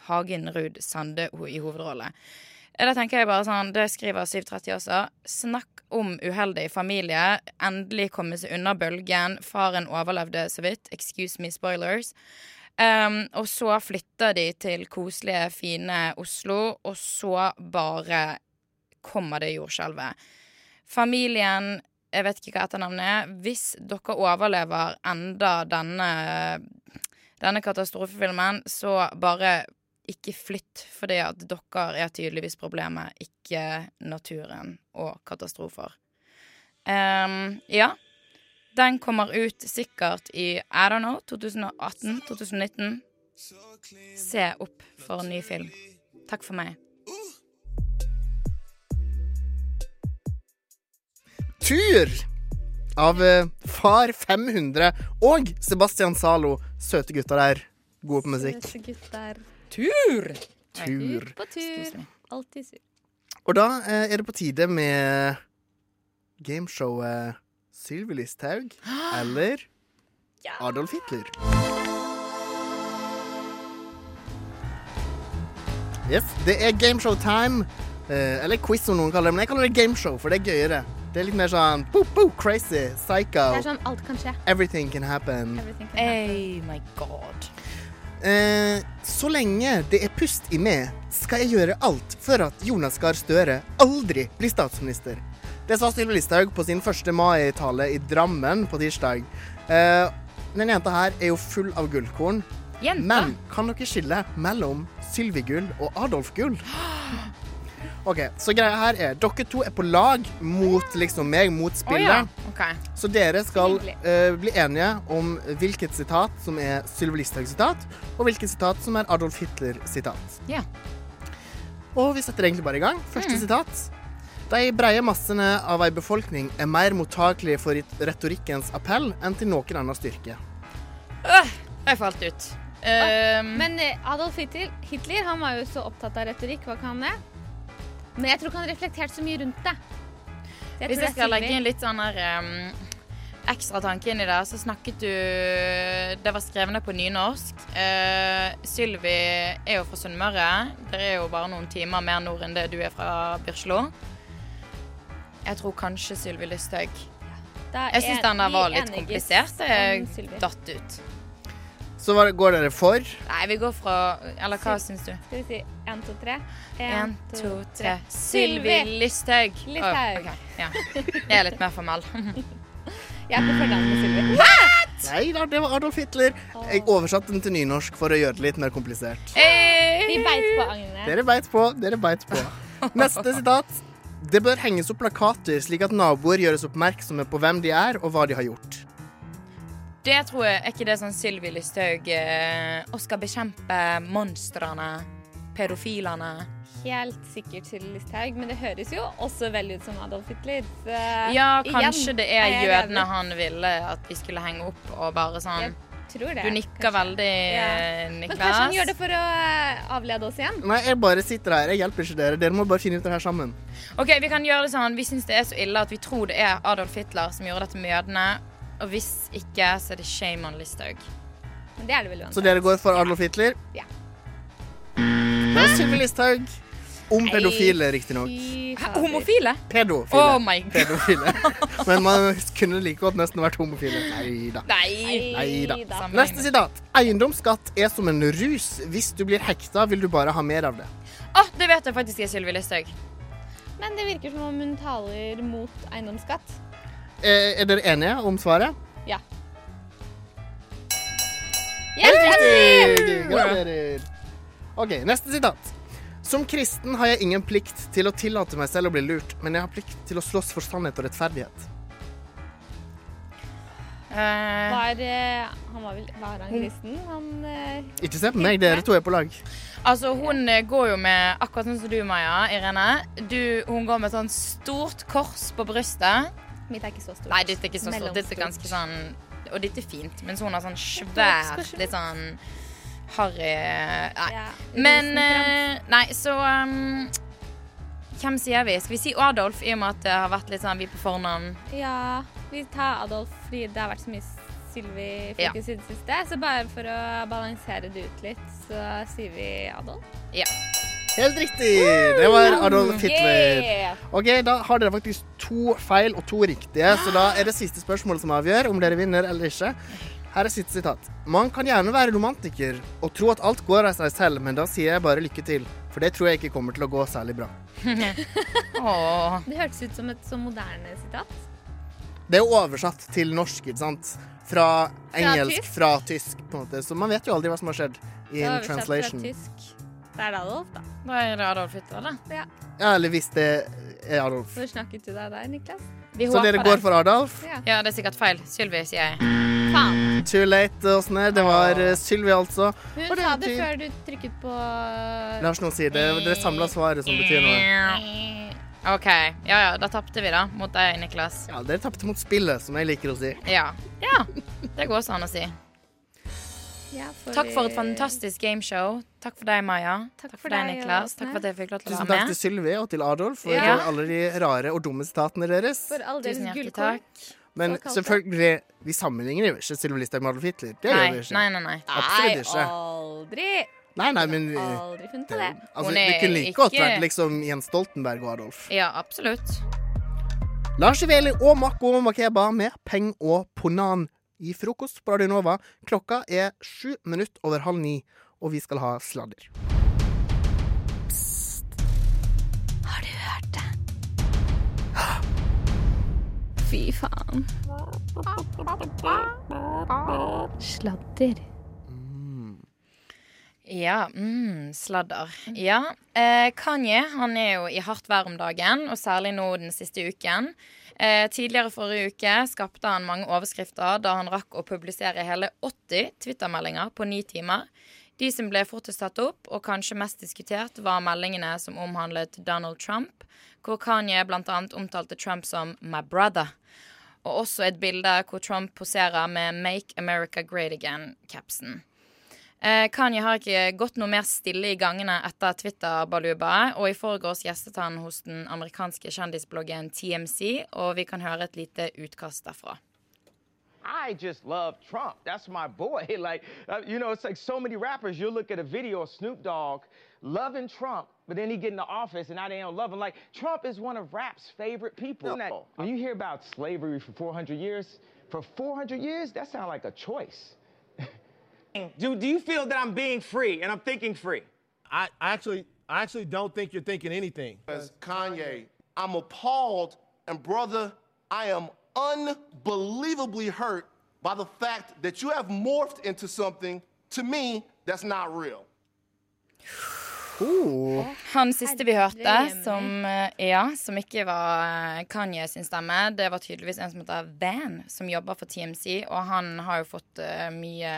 [SPEAKER 4] Hagenrud Sande ho- i hovedrolle. Eh, Da tenker jeg bare sånn, det skriver 730 også. Snakk om uheldig familie. Endelig komme seg unna bølgen. Faren overlevde så vidt. Excuse me, spoilers. Um, og så flytter de til koselige, fine Oslo, og så bare kommer det jordskjelvet. Familien Jeg vet ikke hva etternavnet er. Hvis dere overlever enda denne denne katastrofefilmen, så bare ikke flytt, fordi at dere er tydeligvis problemet, ikke naturen og katastrofer. Ehm, ja. Den kommer ut sikkert i I don't know 2018-2019. Se opp for en ny film. Takk for meg.
[SPEAKER 2] Tur av eh, Far 500 og Sebastian Zalo. Søte gutter der. Gode på musikk.
[SPEAKER 3] Søte gutter.
[SPEAKER 4] Tur!
[SPEAKER 2] Tur.
[SPEAKER 3] På tur. Alltid sur.
[SPEAKER 2] Og da eh, er det på tide med gameshowet Sylvi Listhaug eller Adolf Hitler. Yes, det er gameshow-time. Eh, eller quiz, som noen kaller det. Men jeg kaller det gameshow, for det er gøyere. Det er litt mer sånn boop, boop, crazy, psycho.
[SPEAKER 3] Det er sånn alt kan skje.
[SPEAKER 2] Everything can happen.
[SPEAKER 3] Eh,
[SPEAKER 4] Hey, my god.
[SPEAKER 2] Eh, så lenge det er pust i meg, skal jeg gjøre alt for at Jonas Gahr Støre aldri blir statsminister. Det sa Sylvi Listhaug på sin første mai-tale i Drammen på tirsdag. Eh, denne jenta her er jo full av gullkorn. Men kan dere skille mellom Sylvi Gull og Adolf Gull? OK, så greia her er Dere to er på lag mot liksom meg, mot spillet. Så dere skal eh, bli enige om hvilket sitat som er Sylvi Listhaug-sitat, og hvilket sitat som er Adolf Hitler-sitat.
[SPEAKER 4] Ja.
[SPEAKER 2] Og vi setter egentlig bare i gang. Første sitat. De breie massene av ei befolkning er mer mottakelige for retorikkens appell enn til noen annen styrke.
[SPEAKER 4] Øh, jeg falt ut. Ehm,
[SPEAKER 3] Men eh, Adolf Hitler, Hitler han var jo så opptatt av retorikk, var ikke han det? Men jeg tror ikke han reflekterte så mye rundt det. Så tror det
[SPEAKER 4] Hvis jeg
[SPEAKER 3] er
[SPEAKER 4] skal
[SPEAKER 3] Sylvi.
[SPEAKER 4] legge inn litt sånn her ehm, ekstra tanke inn i det, så snakket du Det var skrevet ned på nynorsk. Uh, Sylvi er jo fra Sunnmøre. Det er jo bare noen timer mer nord enn det du er fra Byrkjelo. Jeg tror kanskje Sylvi Listhaug.
[SPEAKER 3] Da
[SPEAKER 4] Jeg syns
[SPEAKER 3] er
[SPEAKER 4] den der
[SPEAKER 3] vi
[SPEAKER 4] var litt
[SPEAKER 3] enige
[SPEAKER 4] komplisert.
[SPEAKER 3] om
[SPEAKER 4] eh, Jeg
[SPEAKER 3] Sylvi.
[SPEAKER 4] datt ut.
[SPEAKER 2] Så hva- går dere for?
[SPEAKER 4] Nei, vi går fra Eller hva syns du?
[SPEAKER 3] Skal vi si én, to, tre?
[SPEAKER 4] En, to, tre. Sylvi Listhaug. Å,
[SPEAKER 3] Listhaug.
[SPEAKER 4] ok, ja. Jeg er litt mer formell.
[SPEAKER 3] Jeg er på fornavn med Sylvi.
[SPEAKER 2] Nei da, det var Adolf Hitler. Jeg oversatte den til nynorsk for å gjøre det litt mer komplisert.
[SPEAKER 3] Vi beit på agnet.
[SPEAKER 2] Dere beit på, dere beit på. Neste sitat. Det bør henges opp plakater slik at naboer gjøres oppmerksomme på hvem de er, og hva de har gjort.
[SPEAKER 4] Det tror jeg er ikke det sånn Sylvi Listhaug eh, Og skal bekjempe monstrene, pedofilene.
[SPEAKER 3] Helt sikkert til Listhaug, men det høres jo også veldig ut som Adolf Hitler. Så,
[SPEAKER 4] Ja,
[SPEAKER 3] igjen
[SPEAKER 4] kanskje det er
[SPEAKER 3] jeg
[SPEAKER 4] jødene
[SPEAKER 3] enig.
[SPEAKER 4] han ville at vi skulle henge opp, og bare sånn
[SPEAKER 3] Tror det.
[SPEAKER 4] Du nikker veldig, eh,
[SPEAKER 3] Men kanskje han gjør
[SPEAKER 4] Niklas.
[SPEAKER 3] det for å eh, avlede oss igjen?
[SPEAKER 2] Nei, jeg bare sitter her. Jeg hjelper ikke dere. Dere må bare finne ut det her sammen.
[SPEAKER 4] OK, vi kan gjøre det sånn. Vi syns det er så ille at vi tror det er Adolf Hitler som gjorde dette med jødene. Og hvis ikke, så er det shame on Listhaug.
[SPEAKER 3] Men det er det vel
[SPEAKER 2] Så dere går for Adolf Hitler?
[SPEAKER 3] Ja.
[SPEAKER 2] Det var Sylvi Listhaug. Om pedofile, riktinomk.
[SPEAKER 4] Homofile?
[SPEAKER 2] Pedofile.
[SPEAKER 4] Oh my god.
[SPEAKER 2] pedofile. Men man kunne like godt nesten vært homofile. Nei da.
[SPEAKER 4] Nei.
[SPEAKER 2] da. Neste sitat. Eiendomsskatt er som en rus. Hvis du blir hekta, vil du bare ha mer av det.
[SPEAKER 4] Å, det vet jeg faktisk er Sylvi Listhaug.
[SPEAKER 3] Men det virker som om hun taler mot eiendomsskatt.
[SPEAKER 2] Eh, Er dere enige om svaret?
[SPEAKER 3] Ja.
[SPEAKER 2] Riktig! Gratulerer. OK, neste sitat. Som kristen har jeg ingen plikt til å tillate meg selv å bli lurt, men jeg har plikt til å slåss for sannhet og rettferdighet.
[SPEAKER 3] Var, eh, han var, vel, var han kristen? Han eh,
[SPEAKER 2] Ikke se på meg, dere to er på lag.
[SPEAKER 4] Altså, hun eh, går jo med akkurat sånn som du, Maja, Irene. Du, hun går med sånn stort kors på brystet.
[SPEAKER 3] Mitt er ikke så stort.
[SPEAKER 4] Nei, ditt er ikke så stort. Ditt er
[SPEAKER 3] Mellomstort.
[SPEAKER 4] ganske sånn Og ditt er fint, mens hun har sånn
[SPEAKER 3] Stort
[SPEAKER 4] svært,
[SPEAKER 3] spørsmål.
[SPEAKER 4] litt sånn harry eh, Nei.
[SPEAKER 3] Ja, liksom
[SPEAKER 4] Men
[SPEAKER 3] rosenkrans.
[SPEAKER 4] eh, Nei, så um, Hvem sier vi? Skal vi si Adolf, i og med at det har vært litt sånn vi på fornavn?
[SPEAKER 3] Ja, vi tar Adolf fordi det har vært så mye Sylvi i
[SPEAKER 4] Ja.
[SPEAKER 3] fokus i det siste. Så bare for å balansere det ut litt, så sier vi Adolf.
[SPEAKER 4] Ja.
[SPEAKER 2] Helt riktig! Det var Adolf
[SPEAKER 3] Mm. Yeah!
[SPEAKER 2] Hitler. Ok, Da har dere faktisk to feil og to riktige, så da er det siste spørsmål som avgjør om dere vinner eller ikke. Her er sitt sitat. Man kan gjerne være romantiker og tro at alt går av seg selv, men da sier jeg bare lykke til, for det tror jeg ikke kommer til å gå særlig bra.
[SPEAKER 4] Åh.
[SPEAKER 3] Det hørtes ut som et så moderne sitat.
[SPEAKER 2] Det er jo oversatt til norsk, ikke sant? Fra engelsk,
[SPEAKER 3] tysk.
[SPEAKER 2] fra tysk, på en måte. Så man vet jo aldri hva som har skjedd
[SPEAKER 3] Det var
[SPEAKER 2] in
[SPEAKER 3] oversatt fra
[SPEAKER 2] translation.
[SPEAKER 3] tysk. Da er det Adolf, da.
[SPEAKER 4] Da er det Adolf Hitler,
[SPEAKER 3] da. Ja.
[SPEAKER 2] Ja, eller hvis det er Adolf.
[SPEAKER 3] Hvor snakket du deg der, Niklas?
[SPEAKER 2] Så dere går for Adolf?
[SPEAKER 3] Ja.
[SPEAKER 4] Ja, det er sikkert feil. Sylvi, sier jeg.
[SPEAKER 2] Too late, og sånn her. Det var eh, Sylvi, altså.
[SPEAKER 3] Hun sa det før du trykket på
[SPEAKER 2] Lars, nå sier det. Dere samla svaret som betyr noe.
[SPEAKER 4] OK. Ja ja, da tapte vi, da. Mot deg, Niklas.
[SPEAKER 2] Ja, dere tapte mot spillet, som jeg liker å si.
[SPEAKER 4] Ja. ja. Det går sånn å si. Takk for et fantastisk gameshow. Takk for deg, Maja. Takk, for deg, Niklas. Takk for at jeg fikk lov til å
[SPEAKER 2] Tusen
[SPEAKER 4] være
[SPEAKER 2] takk til
[SPEAKER 4] med.
[SPEAKER 2] Sylvi og til Adolf for
[SPEAKER 4] Ja.
[SPEAKER 2] eh, alle de rare og dumme sitatene deres.
[SPEAKER 3] For all deres
[SPEAKER 4] Tusen hjertelig
[SPEAKER 3] gullkorn.
[SPEAKER 2] Men
[SPEAKER 3] Såkalte.
[SPEAKER 2] selvfølgelig, vi sammenligner jo ikke Sylvi Listhaug med Adolf Hitler. Det
[SPEAKER 4] Nei,
[SPEAKER 2] gjør vi ikke.
[SPEAKER 4] nei, nei, nei.
[SPEAKER 2] Absolutt ikke.
[SPEAKER 3] Aldri!
[SPEAKER 2] Nei, nei, men eh, vi,
[SPEAKER 3] Aldri funnet på det.
[SPEAKER 2] altså,
[SPEAKER 4] Hun
[SPEAKER 2] vi
[SPEAKER 4] er
[SPEAKER 2] kunne like godt
[SPEAKER 4] ikke-
[SPEAKER 2] vært liksom Jens Stoltenberg og Adolf.
[SPEAKER 4] Ja, absolutt.
[SPEAKER 2] Lars Iveli og Mako Makeba med Peng og Ponan i frokost på Radio Nova. Klokka er sju minutt over halv ni, og vi skal ha sladder.
[SPEAKER 3] Har du hørt det? Fy faen. Sladder.
[SPEAKER 4] Ja. Mm, sladder. Ja. Eh, Kanye han er jo i hardt vær om dagen, og særlig nå den siste uken. Eh, tidligere forrige uke skapte han mange overskrifter da han rakk å publisere hele 80 Twitter-meldinger på ni timer. De som ble fortest tatt opp, og kanskje mest diskutert, var meldingene som omhandlet Donald Trump, hvor Kanye bl.a. omtalte Trump som 'my brother'. Og også et bilde hvor Trump poserer med 'Make America Great Again'-capsen. Eh, Kanye har ikke gått noe mer stille i gangene etter Twitter-balubaet, og i forgårs gjestet han hos den amerikanske kjendisbloggen TMC, og vi kan høre et lite utkast derfra.
[SPEAKER 19] I just love Trump. That's my boy. Like, uh, you know, it's like so many rappers. You'll look at a video of Snoop Dogg loving Trump, but then he get in the office and now they don't love him. Like, Trump is one of rap's favorite people.
[SPEAKER 20] No.
[SPEAKER 19] When you hear about slavery for 400 years, for 400 years, that sounds like a choice.
[SPEAKER 20] Do, do you feel that I'm being free and I'm thinking free? I, I actually I actually don't think you're thinking anything.
[SPEAKER 21] As Kanye, I'm appalled, and brother, I am unbelievably hurt by the fact that you have morphed into something to me that's not real.
[SPEAKER 4] Han siste vi hørte, som, eh, ja, som ikke var eh, Kanye sin stemme, det var tydeligvis en som heter Van, som jobber for TMC, og han har jo fått eh, mye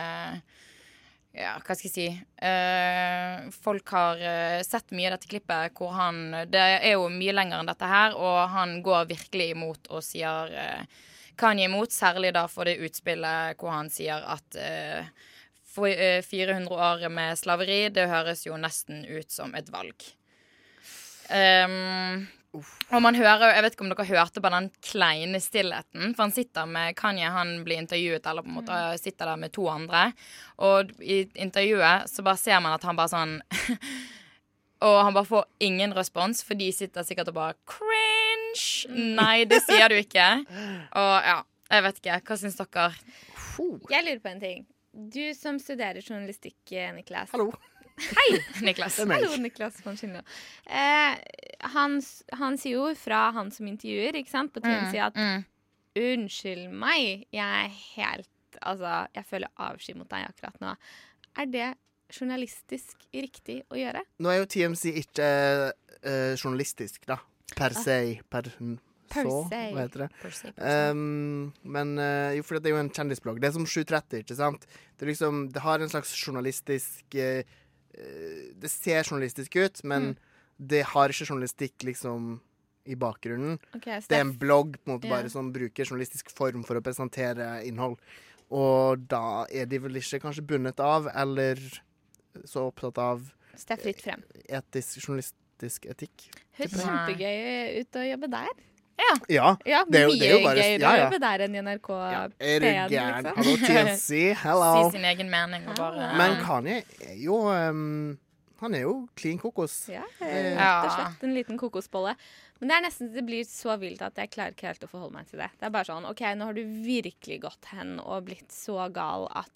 [SPEAKER 4] ja, hva skal jeg si eh, Folk har eh, sett mye av dette klippet hvor han Det er jo mye lenger enn dette her, og han går virkelig imot og sier eh, Kanye imot, særlig da for det utspillet hvor han sier at eh, for, eh, 400 år med slaveri, det høres jo nesten ut som et valg. Ehm, og man hører jo, Jeg vet ikke om dere hørte på den kleine stillheten. For han sitter med Kanye, han blir intervjuet, eller på en måte
[SPEAKER 2] Mm.
[SPEAKER 4] sitter der med to andre. Og i intervjuet så bare ser man at han bare sånn Og han bare får ingen respons, for de sitter sikkert og bare Cringe!
[SPEAKER 2] Mm.
[SPEAKER 4] Nei, det sier du ikke. Og ja, jeg vet ikke. Hva syns dere?
[SPEAKER 3] Jeg lurer på en ting. Du som studerer journalistikk, eh, Niklas.
[SPEAKER 2] Hallo.
[SPEAKER 3] Hei,
[SPEAKER 4] Niklas.
[SPEAKER 2] Det er meg.
[SPEAKER 3] Hallo, Niklas von Schindler. Eh, han, s- han sier jo fra han som intervjuer, ikke sant, på
[SPEAKER 4] Mm,
[SPEAKER 3] TNC at Unnskyld meg, jeg er helt Altså, jeg føler avsky mot deg akkurat nå. Er det journalistisk riktig å gjøre?
[SPEAKER 2] Nå er jo TMC ikke eh, journalistisk, da. Per
[SPEAKER 3] Ah.
[SPEAKER 2] se. Per,
[SPEAKER 3] Per
[SPEAKER 2] så,
[SPEAKER 3] se.
[SPEAKER 2] hva heter det?
[SPEAKER 3] Per se, per se.
[SPEAKER 2] Um, men eh, jo, for det er jo en kjendisblogg. Det er som 730, ikke sant? Det, er liksom, det har en slags journalistisk eh, eh, Det ser journalistisk ut, men
[SPEAKER 3] Mm.
[SPEAKER 2] det har ikke journalistikk liksom i bakgrunnen.
[SPEAKER 3] Ok, så
[SPEAKER 2] det
[SPEAKER 3] det
[SPEAKER 2] er
[SPEAKER 3] er
[SPEAKER 2] en
[SPEAKER 3] f-
[SPEAKER 2] blogg på en måte
[SPEAKER 3] Ja.
[SPEAKER 2] bare som bruker journalistisk form for å presentere innhold. Og da er de vel ikke kanskje bundet av, eller så opptatt av
[SPEAKER 3] Så det er fritt frem.
[SPEAKER 2] etisk journalistisk etikk.
[SPEAKER 3] Høres
[SPEAKER 2] tipper jeg.
[SPEAKER 3] kjempegøy eh, ut å jobbe der.
[SPEAKER 2] Ja.
[SPEAKER 3] Ja,
[SPEAKER 2] det er jo,
[SPEAKER 3] mye
[SPEAKER 2] det er jo bare
[SPEAKER 3] gøyere
[SPEAKER 2] ja,
[SPEAKER 3] å jobbe
[SPEAKER 2] ja.
[SPEAKER 3] der enn i NRK
[SPEAKER 2] Er du
[SPEAKER 3] P1,
[SPEAKER 2] gæren?
[SPEAKER 3] liksom.
[SPEAKER 2] Hallo, TMC. Hello.
[SPEAKER 4] Si sin egen mening og bare eh,
[SPEAKER 2] Men Kanye er jo um, Han er jo klin kokos.
[SPEAKER 3] Eh, Ja,
[SPEAKER 2] Det-
[SPEAKER 3] rett og slett en liten kokosbolle. Men det er nesten det blir så vilt at jeg klarer ikke helt å forholde meg til det. Det er bare sånn OK, nå har du virkelig gått hen og blitt så gal at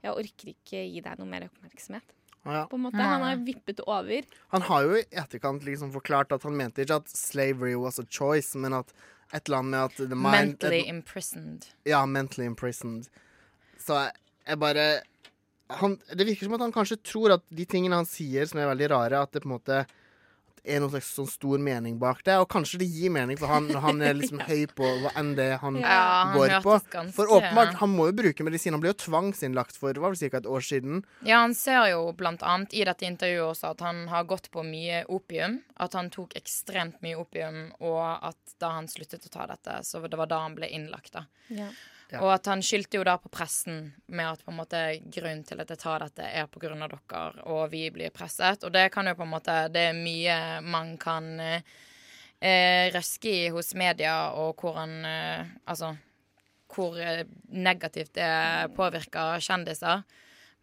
[SPEAKER 3] jeg orker ikke gi deg noe mer oppmerksomhet.
[SPEAKER 2] Ja.
[SPEAKER 3] På en måte. Han har vippet over.
[SPEAKER 2] Han har jo i etterkant liksom forklart at han mente ikke at slavery was a choice, men at et eller annet med at the mind
[SPEAKER 4] Mentally
[SPEAKER 2] et-
[SPEAKER 4] imprisoned.
[SPEAKER 2] Ja, mentally imprisoned. Så jeg, jeg bare han, Det virker som at han kanskje tror at de tingene han sier som er veldig rare, at det på en måte at det er noen slags sånn stor mening bak det. Og kanskje det gir mening for han når han er liksom
[SPEAKER 4] Ja.
[SPEAKER 2] høy på hva enn det han
[SPEAKER 4] Ja, han
[SPEAKER 2] går
[SPEAKER 4] hørtes
[SPEAKER 2] på.
[SPEAKER 4] ganske-
[SPEAKER 2] For åpenbart, han må jo bruke medisin. Han ble jo tvangsinnlagt for hva var det, cirka et år siden.
[SPEAKER 4] Ja, han ser jo blant annet i dette intervjuet også at han har gått på mye opium. At han tok ekstremt mye opium, og at da han sluttet å ta dette, så det var da han ble innlagt, da.
[SPEAKER 3] Ja.
[SPEAKER 4] Og at han skyldte jo da på pressen med at på en måte grunnen til at jeg tar dette, er på grunn av dere, og vi blir presset. Og det kan jo på en måte Det er mye man kan eh, eh, røske i hos media, og hvor han eh, Altså hvor eh, negativt det påvirker kjendiser.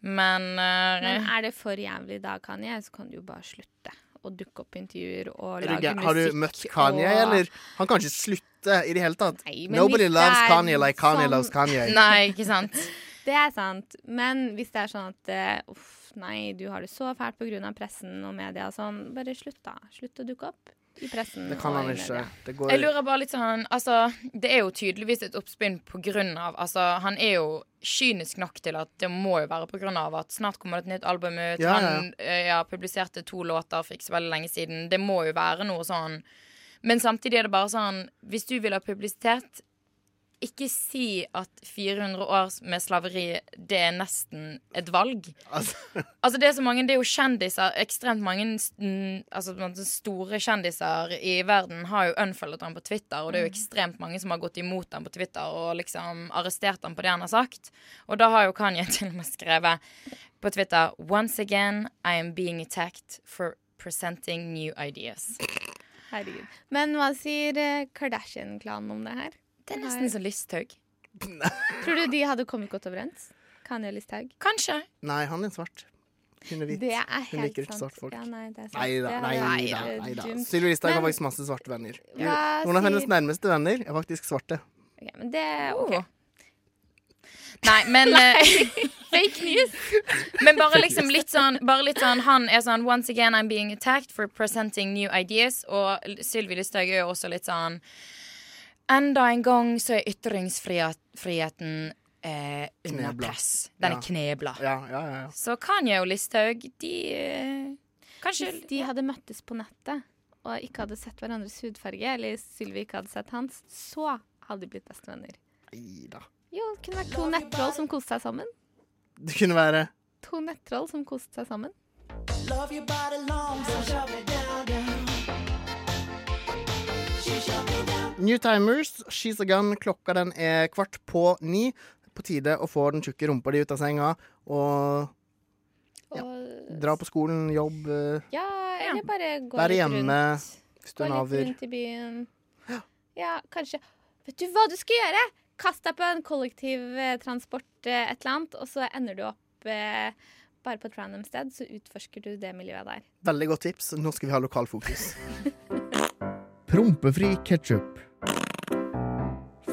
[SPEAKER 4] Men, eh,
[SPEAKER 3] Men er det for jævlig da, Kanye, så kan du jo bare slutte å dukke opp i intervjuer og
[SPEAKER 2] Er du
[SPEAKER 3] lage
[SPEAKER 2] gæren?
[SPEAKER 3] musikk.
[SPEAKER 2] Har du møtt Kanye,
[SPEAKER 3] og-
[SPEAKER 2] eller? Han kan ikke slutte i det hele tatt.
[SPEAKER 3] men
[SPEAKER 2] Nobody
[SPEAKER 3] hvis det
[SPEAKER 2] loves
[SPEAKER 3] er
[SPEAKER 2] Kanye like Kanye
[SPEAKER 3] sånn-
[SPEAKER 2] loves Kanye.
[SPEAKER 4] Nei, ikke sant?
[SPEAKER 3] Det er sant. Men hvis det er sånn at eh, uff, nei, du har det så fælt pga. pressen og media og sånn, bare slutt, da. Slutt å dukke opp. i pressen.
[SPEAKER 2] Det kan
[SPEAKER 3] og
[SPEAKER 2] han
[SPEAKER 3] i
[SPEAKER 2] ikke.
[SPEAKER 3] media.
[SPEAKER 2] Det går
[SPEAKER 4] Jeg lurer bare litt sånn Altså, det er jo tydeligvis et oppspinn på grunn av Altså, han er jo kynisk nok til at det må jo være på grunn av at snart kommer det et nytt album ut.
[SPEAKER 3] Ja, ja.
[SPEAKER 4] han eh, ja, publiserte to låter for ikke så veldig lenge siden. Det må jo være noe sånn Men samtidig er det bare sånn Hvis du vil ha publisitet ikke si at 400 år med slaveri, det er nesten et valg. Altså Det er så mange, det er jo kjendiser. Ekstremt mange mm, altså, på en måte store kjendiser i verden har jo unfollowet ham på Twitter, og det er jo ekstremt mange som har gått imot ham på Twitter og liksom arrestert ham på det han har sagt. Og da har jo Kanye til og med skrevet på Twitter Once again I am being attacked for presenting new ideas.
[SPEAKER 3] Herregud. Men hva sier eh, Kardashian-klanen om det her?
[SPEAKER 4] Det er nesten så Listhaug.
[SPEAKER 3] Tror du de hadde kommet godt overens? Kanye Listhaug?
[SPEAKER 4] Kanskje.
[SPEAKER 2] Nei, han er svart. Hun er hvit.
[SPEAKER 3] Det er
[SPEAKER 2] Hun
[SPEAKER 3] helt
[SPEAKER 2] liker ikke
[SPEAKER 3] sant.
[SPEAKER 2] svarte folk.
[SPEAKER 3] Ja, nei, det er sant.
[SPEAKER 2] Nei da.
[SPEAKER 3] Det
[SPEAKER 2] Nei
[SPEAKER 3] er- nei,
[SPEAKER 2] da.
[SPEAKER 3] det er
[SPEAKER 2] Nei da.
[SPEAKER 3] dumt.
[SPEAKER 2] Sylvi Listhaug har
[SPEAKER 3] Men-
[SPEAKER 2] faktisk masse svarte venner.
[SPEAKER 3] Hva
[SPEAKER 2] Noen av hennes
[SPEAKER 3] sier-
[SPEAKER 2] nærmeste venner er faktisk svarte.
[SPEAKER 3] Ok, men det OK.
[SPEAKER 4] Nei, men eh,
[SPEAKER 3] Fake news!
[SPEAKER 4] Men bare liksom litt sånn, bare litt sånn Han er sånn Once again I'm being attacked for presenting new ideas. Og Sylvi Listhaug er jo også litt sånn Enda en gang så er ytringsfriheten eh, under
[SPEAKER 2] Knebla.
[SPEAKER 4] press.
[SPEAKER 2] Ja.
[SPEAKER 4] Den er knebla.
[SPEAKER 2] Ja, ja, ja, ja.
[SPEAKER 4] Så Kanye og Listhaug, de eh, Kanskje
[SPEAKER 3] Hvis de hadde møttes på nettet og ikke hadde sett hverandres hudfarge, eller Sylvi ikke hadde sett hans, så hadde de blitt bestevenner.
[SPEAKER 2] Neida.
[SPEAKER 3] Jo, det kunne vært to nettroll som koste seg sammen.
[SPEAKER 2] Det kunne være
[SPEAKER 3] To nettroll som koste seg sammen.
[SPEAKER 1] Love your body long, so shove it down, down. She shove it down.
[SPEAKER 2] New Timers, She's a Gun. Klokka den er kvart på ni. På tide å få den tjukke rumpa di ut av senga og
[SPEAKER 3] Og
[SPEAKER 2] dra på skolen, jobb, eh,
[SPEAKER 3] ja, eller bare gå
[SPEAKER 2] være
[SPEAKER 3] litt
[SPEAKER 2] hjemme
[SPEAKER 3] rundt.
[SPEAKER 2] hvis du
[SPEAKER 3] Gå
[SPEAKER 2] er
[SPEAKER 3] litt
[SPEAKER 2] naver.
[SPEAKER 3] rundt i byen. Ja, kanskje Vet du hva du skal gjøre? Kast deg på en kollektivtransport, eh, et eller annet, og så ender du opp eh, bare på et random sted, så utforsker du det miljøet der.
[SPEAKER 2] Veldig godt tips. Nå skal vi ha lokalfokus.
[SPEAKER 22] Prompefri ketsjup.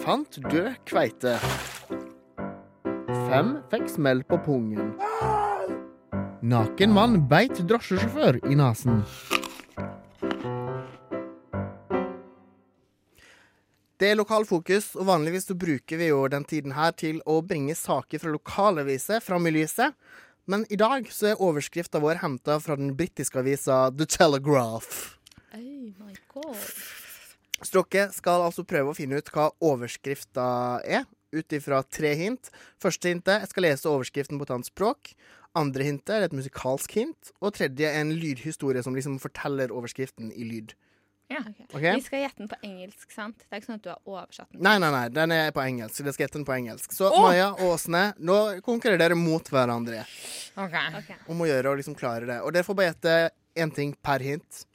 [SPEAKER 2] Fant død kveite. Fem fikk smell på pungen.
[SPEAKER 22] Naken mann beit drosjesjåfør i nesen.
[SPEAKER 2] Det er lokalfokus, og vanligvis så bruker vi jo den tiden her til å bringe saker fra lokalaviser fram i lyset. Men i dag så er overskrifta vår henta fra den britiske avisa The Telegraph.
[SPEAKER 3] Oh my god.
[SPEAKER 2] Så dere skal altså prøve å finne ut hva overskrifta er, ut ifra tre hint. Første hintet jeg skal lese overskriften på et annet språk. Andre hintet er et musikalsk hint. Og tredje er en lydhistorie som liksom forteller overskriften i lyd. Ok.
[SPEAKER 3] Vi skal gjette den på engelsk, sant? Det er ikke sånn at du har oversatt den.
[SPEAKER 2] Nei, nei, nei, den er på engelsk. så Det skal hete den på engelsk. Så
[SPEAKER 3] Åh!
[SPEAKER 2] Maja og Åsne, nå konkurrerer dere mot hverandre
[SPEAKER 3] Ok.
[SPEAKER 2] om å gjøre å liksom klare det. Og dere får bare gjette én ting per hint.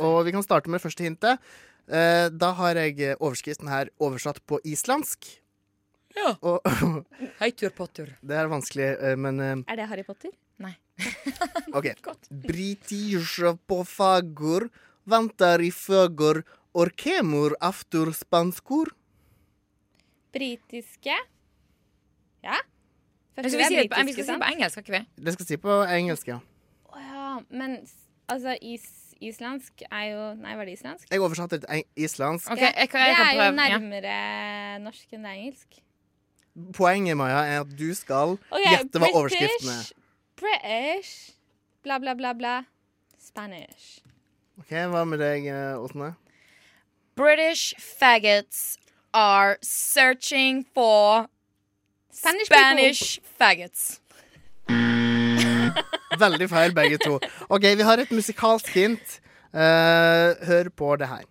[SPEAKER 2] Og vi kan starte med det første hintet. Eh, da har jeg overskriften her oversatt på islandsk.
[SPEAKER 4] Ja.
[SPEAKER 2] Og
[SPEAKER 4] Heitur Potter.
[SPEAKER 2] Det er vanskelig, eh, men eh,
[SPEAKER 3] Er det Harry Potter?
[SPEAKER 4] Nei.
[SPEAKER 2] OK. Britische pofagur vantar i fögur or kemur aftur spanskur.
[SPEAKER 3] Britiske Ja?
[SPEAKER 4] Jeg
[SPEAKER 3] vi
[SPEAKER 4] skal Altså, vi si
[SPEAKER 3] er
[SPEAKER 4] det på- vi
[SPEAKER 3] britiske,
[SPEAKER 4] skal si det på
[SPEAKER 3] sant?
[SPEAKER 4] engelsk, skal ikke vi?
[SPEAKER 2] Det skal jeg si på engelsk, ja.
[SPEAKER 3] Å ja, men s- altså is, islandsk er jo Nei, var det islandsk?
[SPEAKER 2] Jeg oversatte til eng- islandsk.
[SPEAKER 3] Ja, det er jo nærmere norsk enn det er engelsk.
[SPEAKER 2] Poenget, Maja, er at du skal
[SPEAKER 3] Ok,
[SPEAKER 2] gjette hva overskriften er.
[SPEAKER 3] British, bla, bla, bla, bla. Spanish.
[SPEAKER 2] Ok, Hva med deg, eh, Åsne?
[SPEAKER 4] British faggots are searching for
[SPEAKER 3] Spanish,
[SPEAKER 4] faggots.
[SPEAKER 2] Veldig feil, begge to. OK, vi har et musikalsk hint. Eh, hør på det her.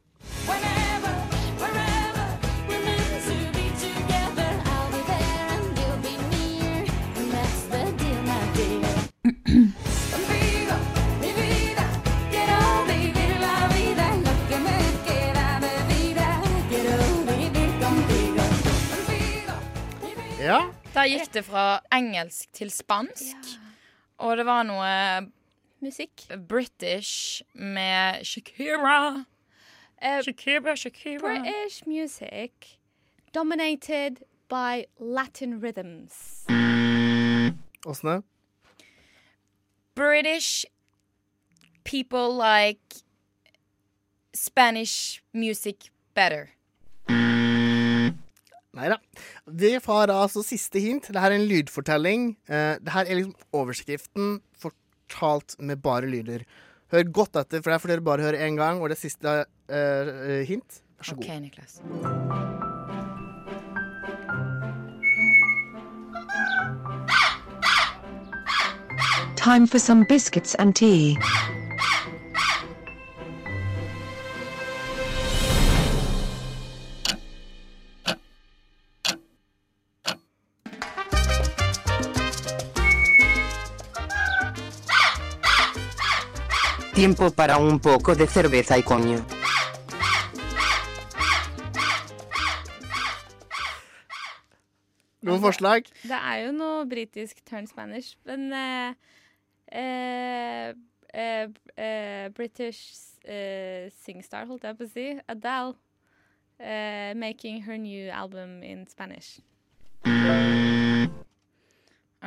[SPEAKER 2] Ja.
[SPEAKER 4] Der gikk det fra engelsk til spansk. Og det var noe
[SPEAKER 3] Musikk.
[SPEAKER 4] British med Shakira. Shakira, Shakira.
[SPEAKER 3] British music dominated by Latin rhythms.
[SPEAKER 2] Åsne?
[SPEAKER 4] British people like Spanish music better.
[SPEAKER 2] Nei da. Det var altså siste hint. Det her er en lydfortelling. Eh, det her er liksom overskriften fortalt med bare lyder. Hør godt etter, for det her får dere bare høre én gang, og det er siste eh, hint. Vær så god.
[SPEAKER 4] OK, Niklas.
[SPEAKER 5] Time for some biscuits and tea.
[SPEAKER 6] Tiempo para un poco de cerveza y coño.
[SPEAKER 2] Noen forslag?
[SPEAKER 3] Det er jo noe britisk turn Spanish, men eh, eh, eh, eh, British eh, singstar, holdt jeg på å si, Adele, eh, making her new album in Spanish.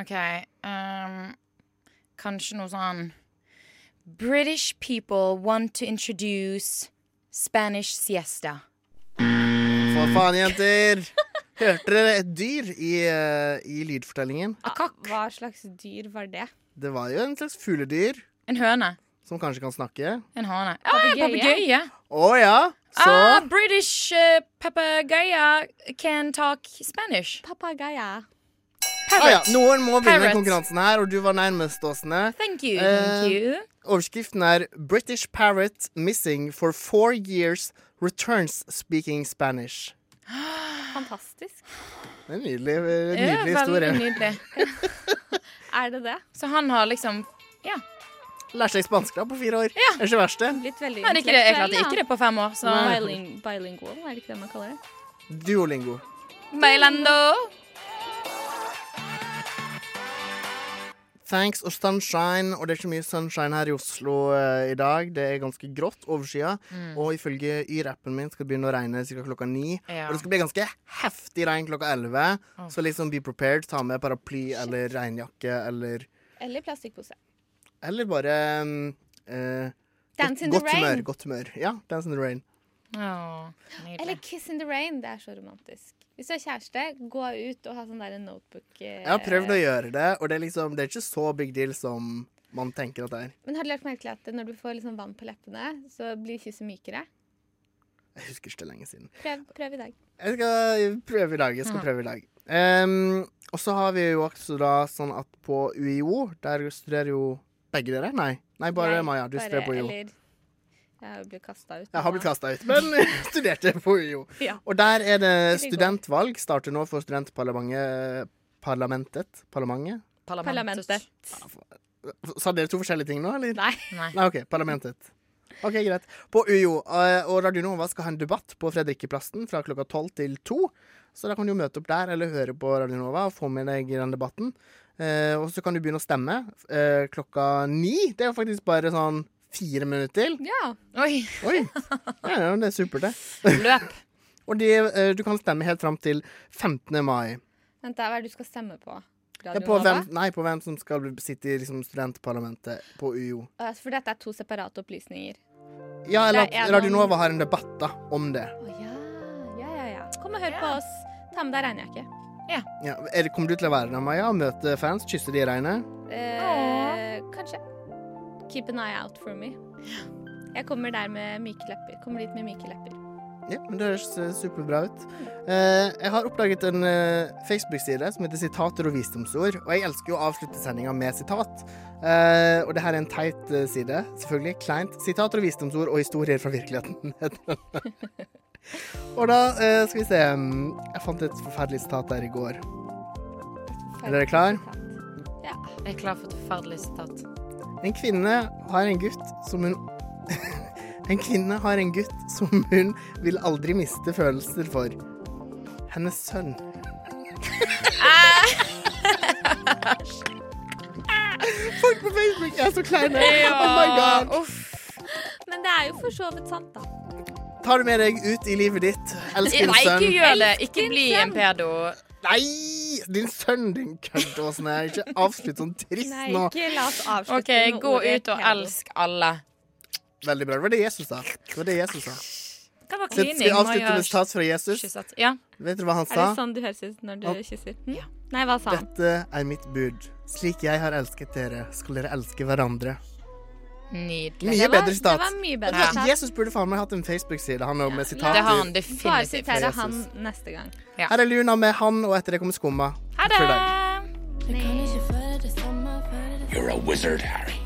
[SPEAKER 4] OK. ehm, kanskje noe sånn British people want to introduce Spanish siesta.
[SPEAKER 2] For faen, jenter! Hørte dere et dyr i, eh, i lydfortellingen?
[SPEAKER 3] Hva slags dyr var det?
[SPEAKER 2] Det var jo en slags fugledyr.
[SPEAKER 4] En høne.
[SPEAKER 2] Som kanskje kan snakke.
[SPEAKER 4] En hane.
[SPEAKER 3] Papegøye.
[SPEAKER 4] Ah, papegøye.
[SPEAKER 2] Å ja! Så
[SPEAKER 4] Ah, British uh, papegøye can talk Spanish.
[SPEAKER 3] Papegøye.
[SPEAKER 2] Ah, ja. Noen må vinne
[SPEAKER 4] Parrot.
[SPEAKER 2] konkurransen her, og du var nærmest, Åsne.
[SPEAKER 4] Thank you,
[SPEAKER 2] Eh,
[SPEAKER 4] thank you.
[SPEAKER 2] Overskriften er 'British parrot missing for four years returns speaking Spanish'.
[SPEAKER 3] Fantastisk.
[SPEAKER 2] Det er en nydelig, eh,
[SPEAKER 4] Ja,
[SPEAKER 2] nydelig
[SPEAKER 4] Veldig
[SPEAKER 2] historie.
[SPEAKER 4] nydelig.
[SPEAKER 3] er det det?
[SPEAKER 4] Så han har liksom Ja.
[SPEAKER 2] Lært seg spansk da på fire år.
[SPEAKER 4] Ja.
[SPEAKER 2] Det er ikke verst, det.
[SPEAKER 3] Blitt veldig
[SPEAKER 4] Nei, det er ikke det. Jeg
[SPEAKER 3] intellektuell,
[SPEAKER 4] klarte ikke
[SPEAKER 3] da.
[SPEAKER 4] det på fem år, så
[SPEAKER 2] Nei.
[SPEAKER 3] Biling bilingual, er det ikke det man kaller det?
[SPEAKER 2] Duolingo.
[SPEAKER 4] Bailando.
[SPEAKER 2] Thanks og sunshine, og det er ikke mye sunshine her i Oslo eh, i dag. Det er ganske grått, overskya,
[SPEAKER 4] Mm.
[SPEAKER 2] og ifølge Yr-appen min skal det begynne å regne ca. klokka ni.
[SPEAKER 4] Ja.
[SPEAKER 2] Og det skal bli ganske heftig regn klokka elleve,
[SPEAKER 4] Åh.
[SPEAKER 2] så liksom be prepared. Ta med paraply eller regnjakke eller
[SPEAKER 3] Eller plastikkpose.
[SPEAKER 2] Eller bare mm, eh, godt,
[SPEAKER 3] Dance in the
[SPEAKER 2] godt
[SPEAKER 3] rain.
[SPEAKER 2] humør. Godt humør. Ja, Dance in the rain.
[SPEAKER 3] Eller Kiss in the Rain. Det er så romantisk. Hvis du har kjæreste, gå ut og ha sånn der notebook eh,
[SPEAKER 2] Jeg har prøvd å gjøre det, og det er liksom Det er ikke så big deal som man tenker at det er.
[SPEAKER 3] Men har du lagt merke til at når du får liksom vann på leppene, så blir kysset mykere?
[SPEAKER 2] Jeg husker ikke det lenge siden.
[SPEAKER 3] Prøv, prøv i dag.
[SPEAKER 2] Jeg skal prøve i dag. Jeg skal
[SPEAKER 3] Ja.
[SPEAKER 2] prøve i dag. Ehm, og så har vi jo også da sånn at på UiO, der studerer jo begge dere. Nei, nei bare
[SPEAKER 3] Nei,
[SPEAKER 2] Maja. Du
[SPEAKER 3] bare-
[SPEAKER 2] studerer på UiO.
[SPEAKER 3] Eller jeg har jo blitt kasta ut.
[SPEAKER 2] Jeg har blitt kasta ut, men studerte på UiO.
[SPEAKER 3] Ja.
[SPEAKER 2] Og der er det
[SPEAKER 3] Det går.
[SPEAKER 2] studentvalg. Starter nå for studentparlamentet. Parlamentet? Parlamentet?
[SPEAKER 3] Parlamentet.
[SPEAKER 2] Sa dere to forskjellige ting nå, eller?
[SPEAKER 3] Nei.
[SPEAKER 4] Nei,
[SPEAKER 2] OK. Parlamentet. OK, greit. På UiO eh, og Radio Nova skal ha en debatt på Fredrikkeplassen fra klokka tolv til to. Så da kan du jo møte opp der eller høre på Radio Nova og få med deg den debatten. Eh, og så kan du begynne å stemme eh, klokka ni. Det er jo faktisk bare sånn fire minutter til.
[SPEAKER 3] Ja.
[SPEAKER 4] Oi.
[SPEAKER 2] Oi. Ja, ja, det er supert, det.
[SPEAKER 4] Løp.
[SPEAKER 2] og de, eh, du kan stemme helt fram til 15. mai.
[SPEAKER 3] Vent, da, hva er det du skal stemme på?
[SPEAKER 2] Det er på hvem, nei, på hvem som skal bli- sitte i liksom, studentparlamentet på UiO.
[SPEAKER 3] Eh, For dette er to separate opplysninger.
[SPEAKER 2] Ja, eller
[SPEAKER 3] Det er
[SPEAKER 2] at Radio
[SPEAKER 3] noen-
[SPEAKER 2] Nova har en debatt da, om det.
[SPEAKER 3] Ja, ja, ja. Kom og hør på oss. Ta med deg regnjakke. Ja.
[SPEAKER 2] Ja, er, det- kommer du til å være der, Maja? Møte fans? Kysse de i regnet?
[SPEAKER 3] Eh, kanskje. Keep an eye out for me. Jeg kommer der med myke lepper. Kommer dit med myke lepper.
[SPEAKER 2] Ja, men det høres eh, superbra ut. Eh, jeg har oppdaget en eh, Facebook-side som heter Sitater og visdomsord. Og jeg elsker jo å avslutte sendinga med sitat. Eh, og det her er en teit eh, side. Selvfølgelig kleint. Sitater og visdomsord og historier fra virkeligheten. heter den. og da eh, skal vi se mm, Jeg fant et forferdelig sitat der i går. Er dere klar?
[SPEAKER 3] Ja.
[SPEAKER 4] Jeg er klar for et forferdelig sitat.
[SPEAKER 2] En kvinne har en gutt som hun En kvinne har en gutt som hun vil aldri miste følelser for. Hennes sønn. Folk på Facebook er så kleine! Oh my god!
[SPEAKER 3] Men det er jo for så vidt sant, da.
[SPEAKER 2] Tar du med deg ut i livet ditt? Elsk din
[SPEAKER 4] Nei,
[SPEAKER 2] sønn.
[SPEAKER 4] ikke gjør det. Ikke bli en pedo.
[SPEAKER 2] Nei! Din sønn, din kødd. og sånn her. Ikke avslutt sånn trist nå.
[SPEAKER 4] OK, gå ut og elsk alle.
[SPEAKER 2] Veldig bra. Det var det Jesus sa. Det var det Jesus sa.
[SPEAKER 3] Det var
[SPEAKER 2] Så
[SPEAKER 3] cleaning,
[SPEAKER 2] Skal vi
[SPEAKER 3] må
[SPEAKER 2] avslutte
[SPEAKER 3] jo
[SPEAKER 2] med sitat fra Jesus?
[SPEAKER 3] kysset. Ja.
[SPEAKER 2] Vet dere hva han
[SPEAKER 3] Er
[SPEAKER 2] sa?
[SPEAKER 3] det sånn du høres ut når du
[SPEAKER 2] Han-
[SPEAKER 3] kysser? Hm? Nei, hva sa han?
[SPEAKER 2] Dette er mitt bud. Slik jeg har elsket dere, skal dere elske hverandre.
[SPEAKER 4] Nydelig.
[SPEAKER 2] Mye
[SPEAKER 4] Det var-
[SPEAKER 2] bedre sitat.
[SPEAKER 4] Det var mye bedre
[SPEAKER 2] Ja,
[SPEAKER 4] sitat.
[SPEAKER 2] Jesus burde faen meg hatt en Facebook-side, han òg, med sitater.
[SPEAKER 4] Det har han definitivt.
[SPEAKER 3] Bare sitere
[SPEAKER 2] Jesus.
[SPEAKER 3] han neste gang.
[SPEAKER 2] Her er Luna med han, og etter det kommer Skumma.
[SPEAKER 3] Ha
[SPEAKER 2] For i
[SPEAKER 3] det!
[SPEAKER 2] dag.
[SPEAKER 1] You're a wizard, Harry.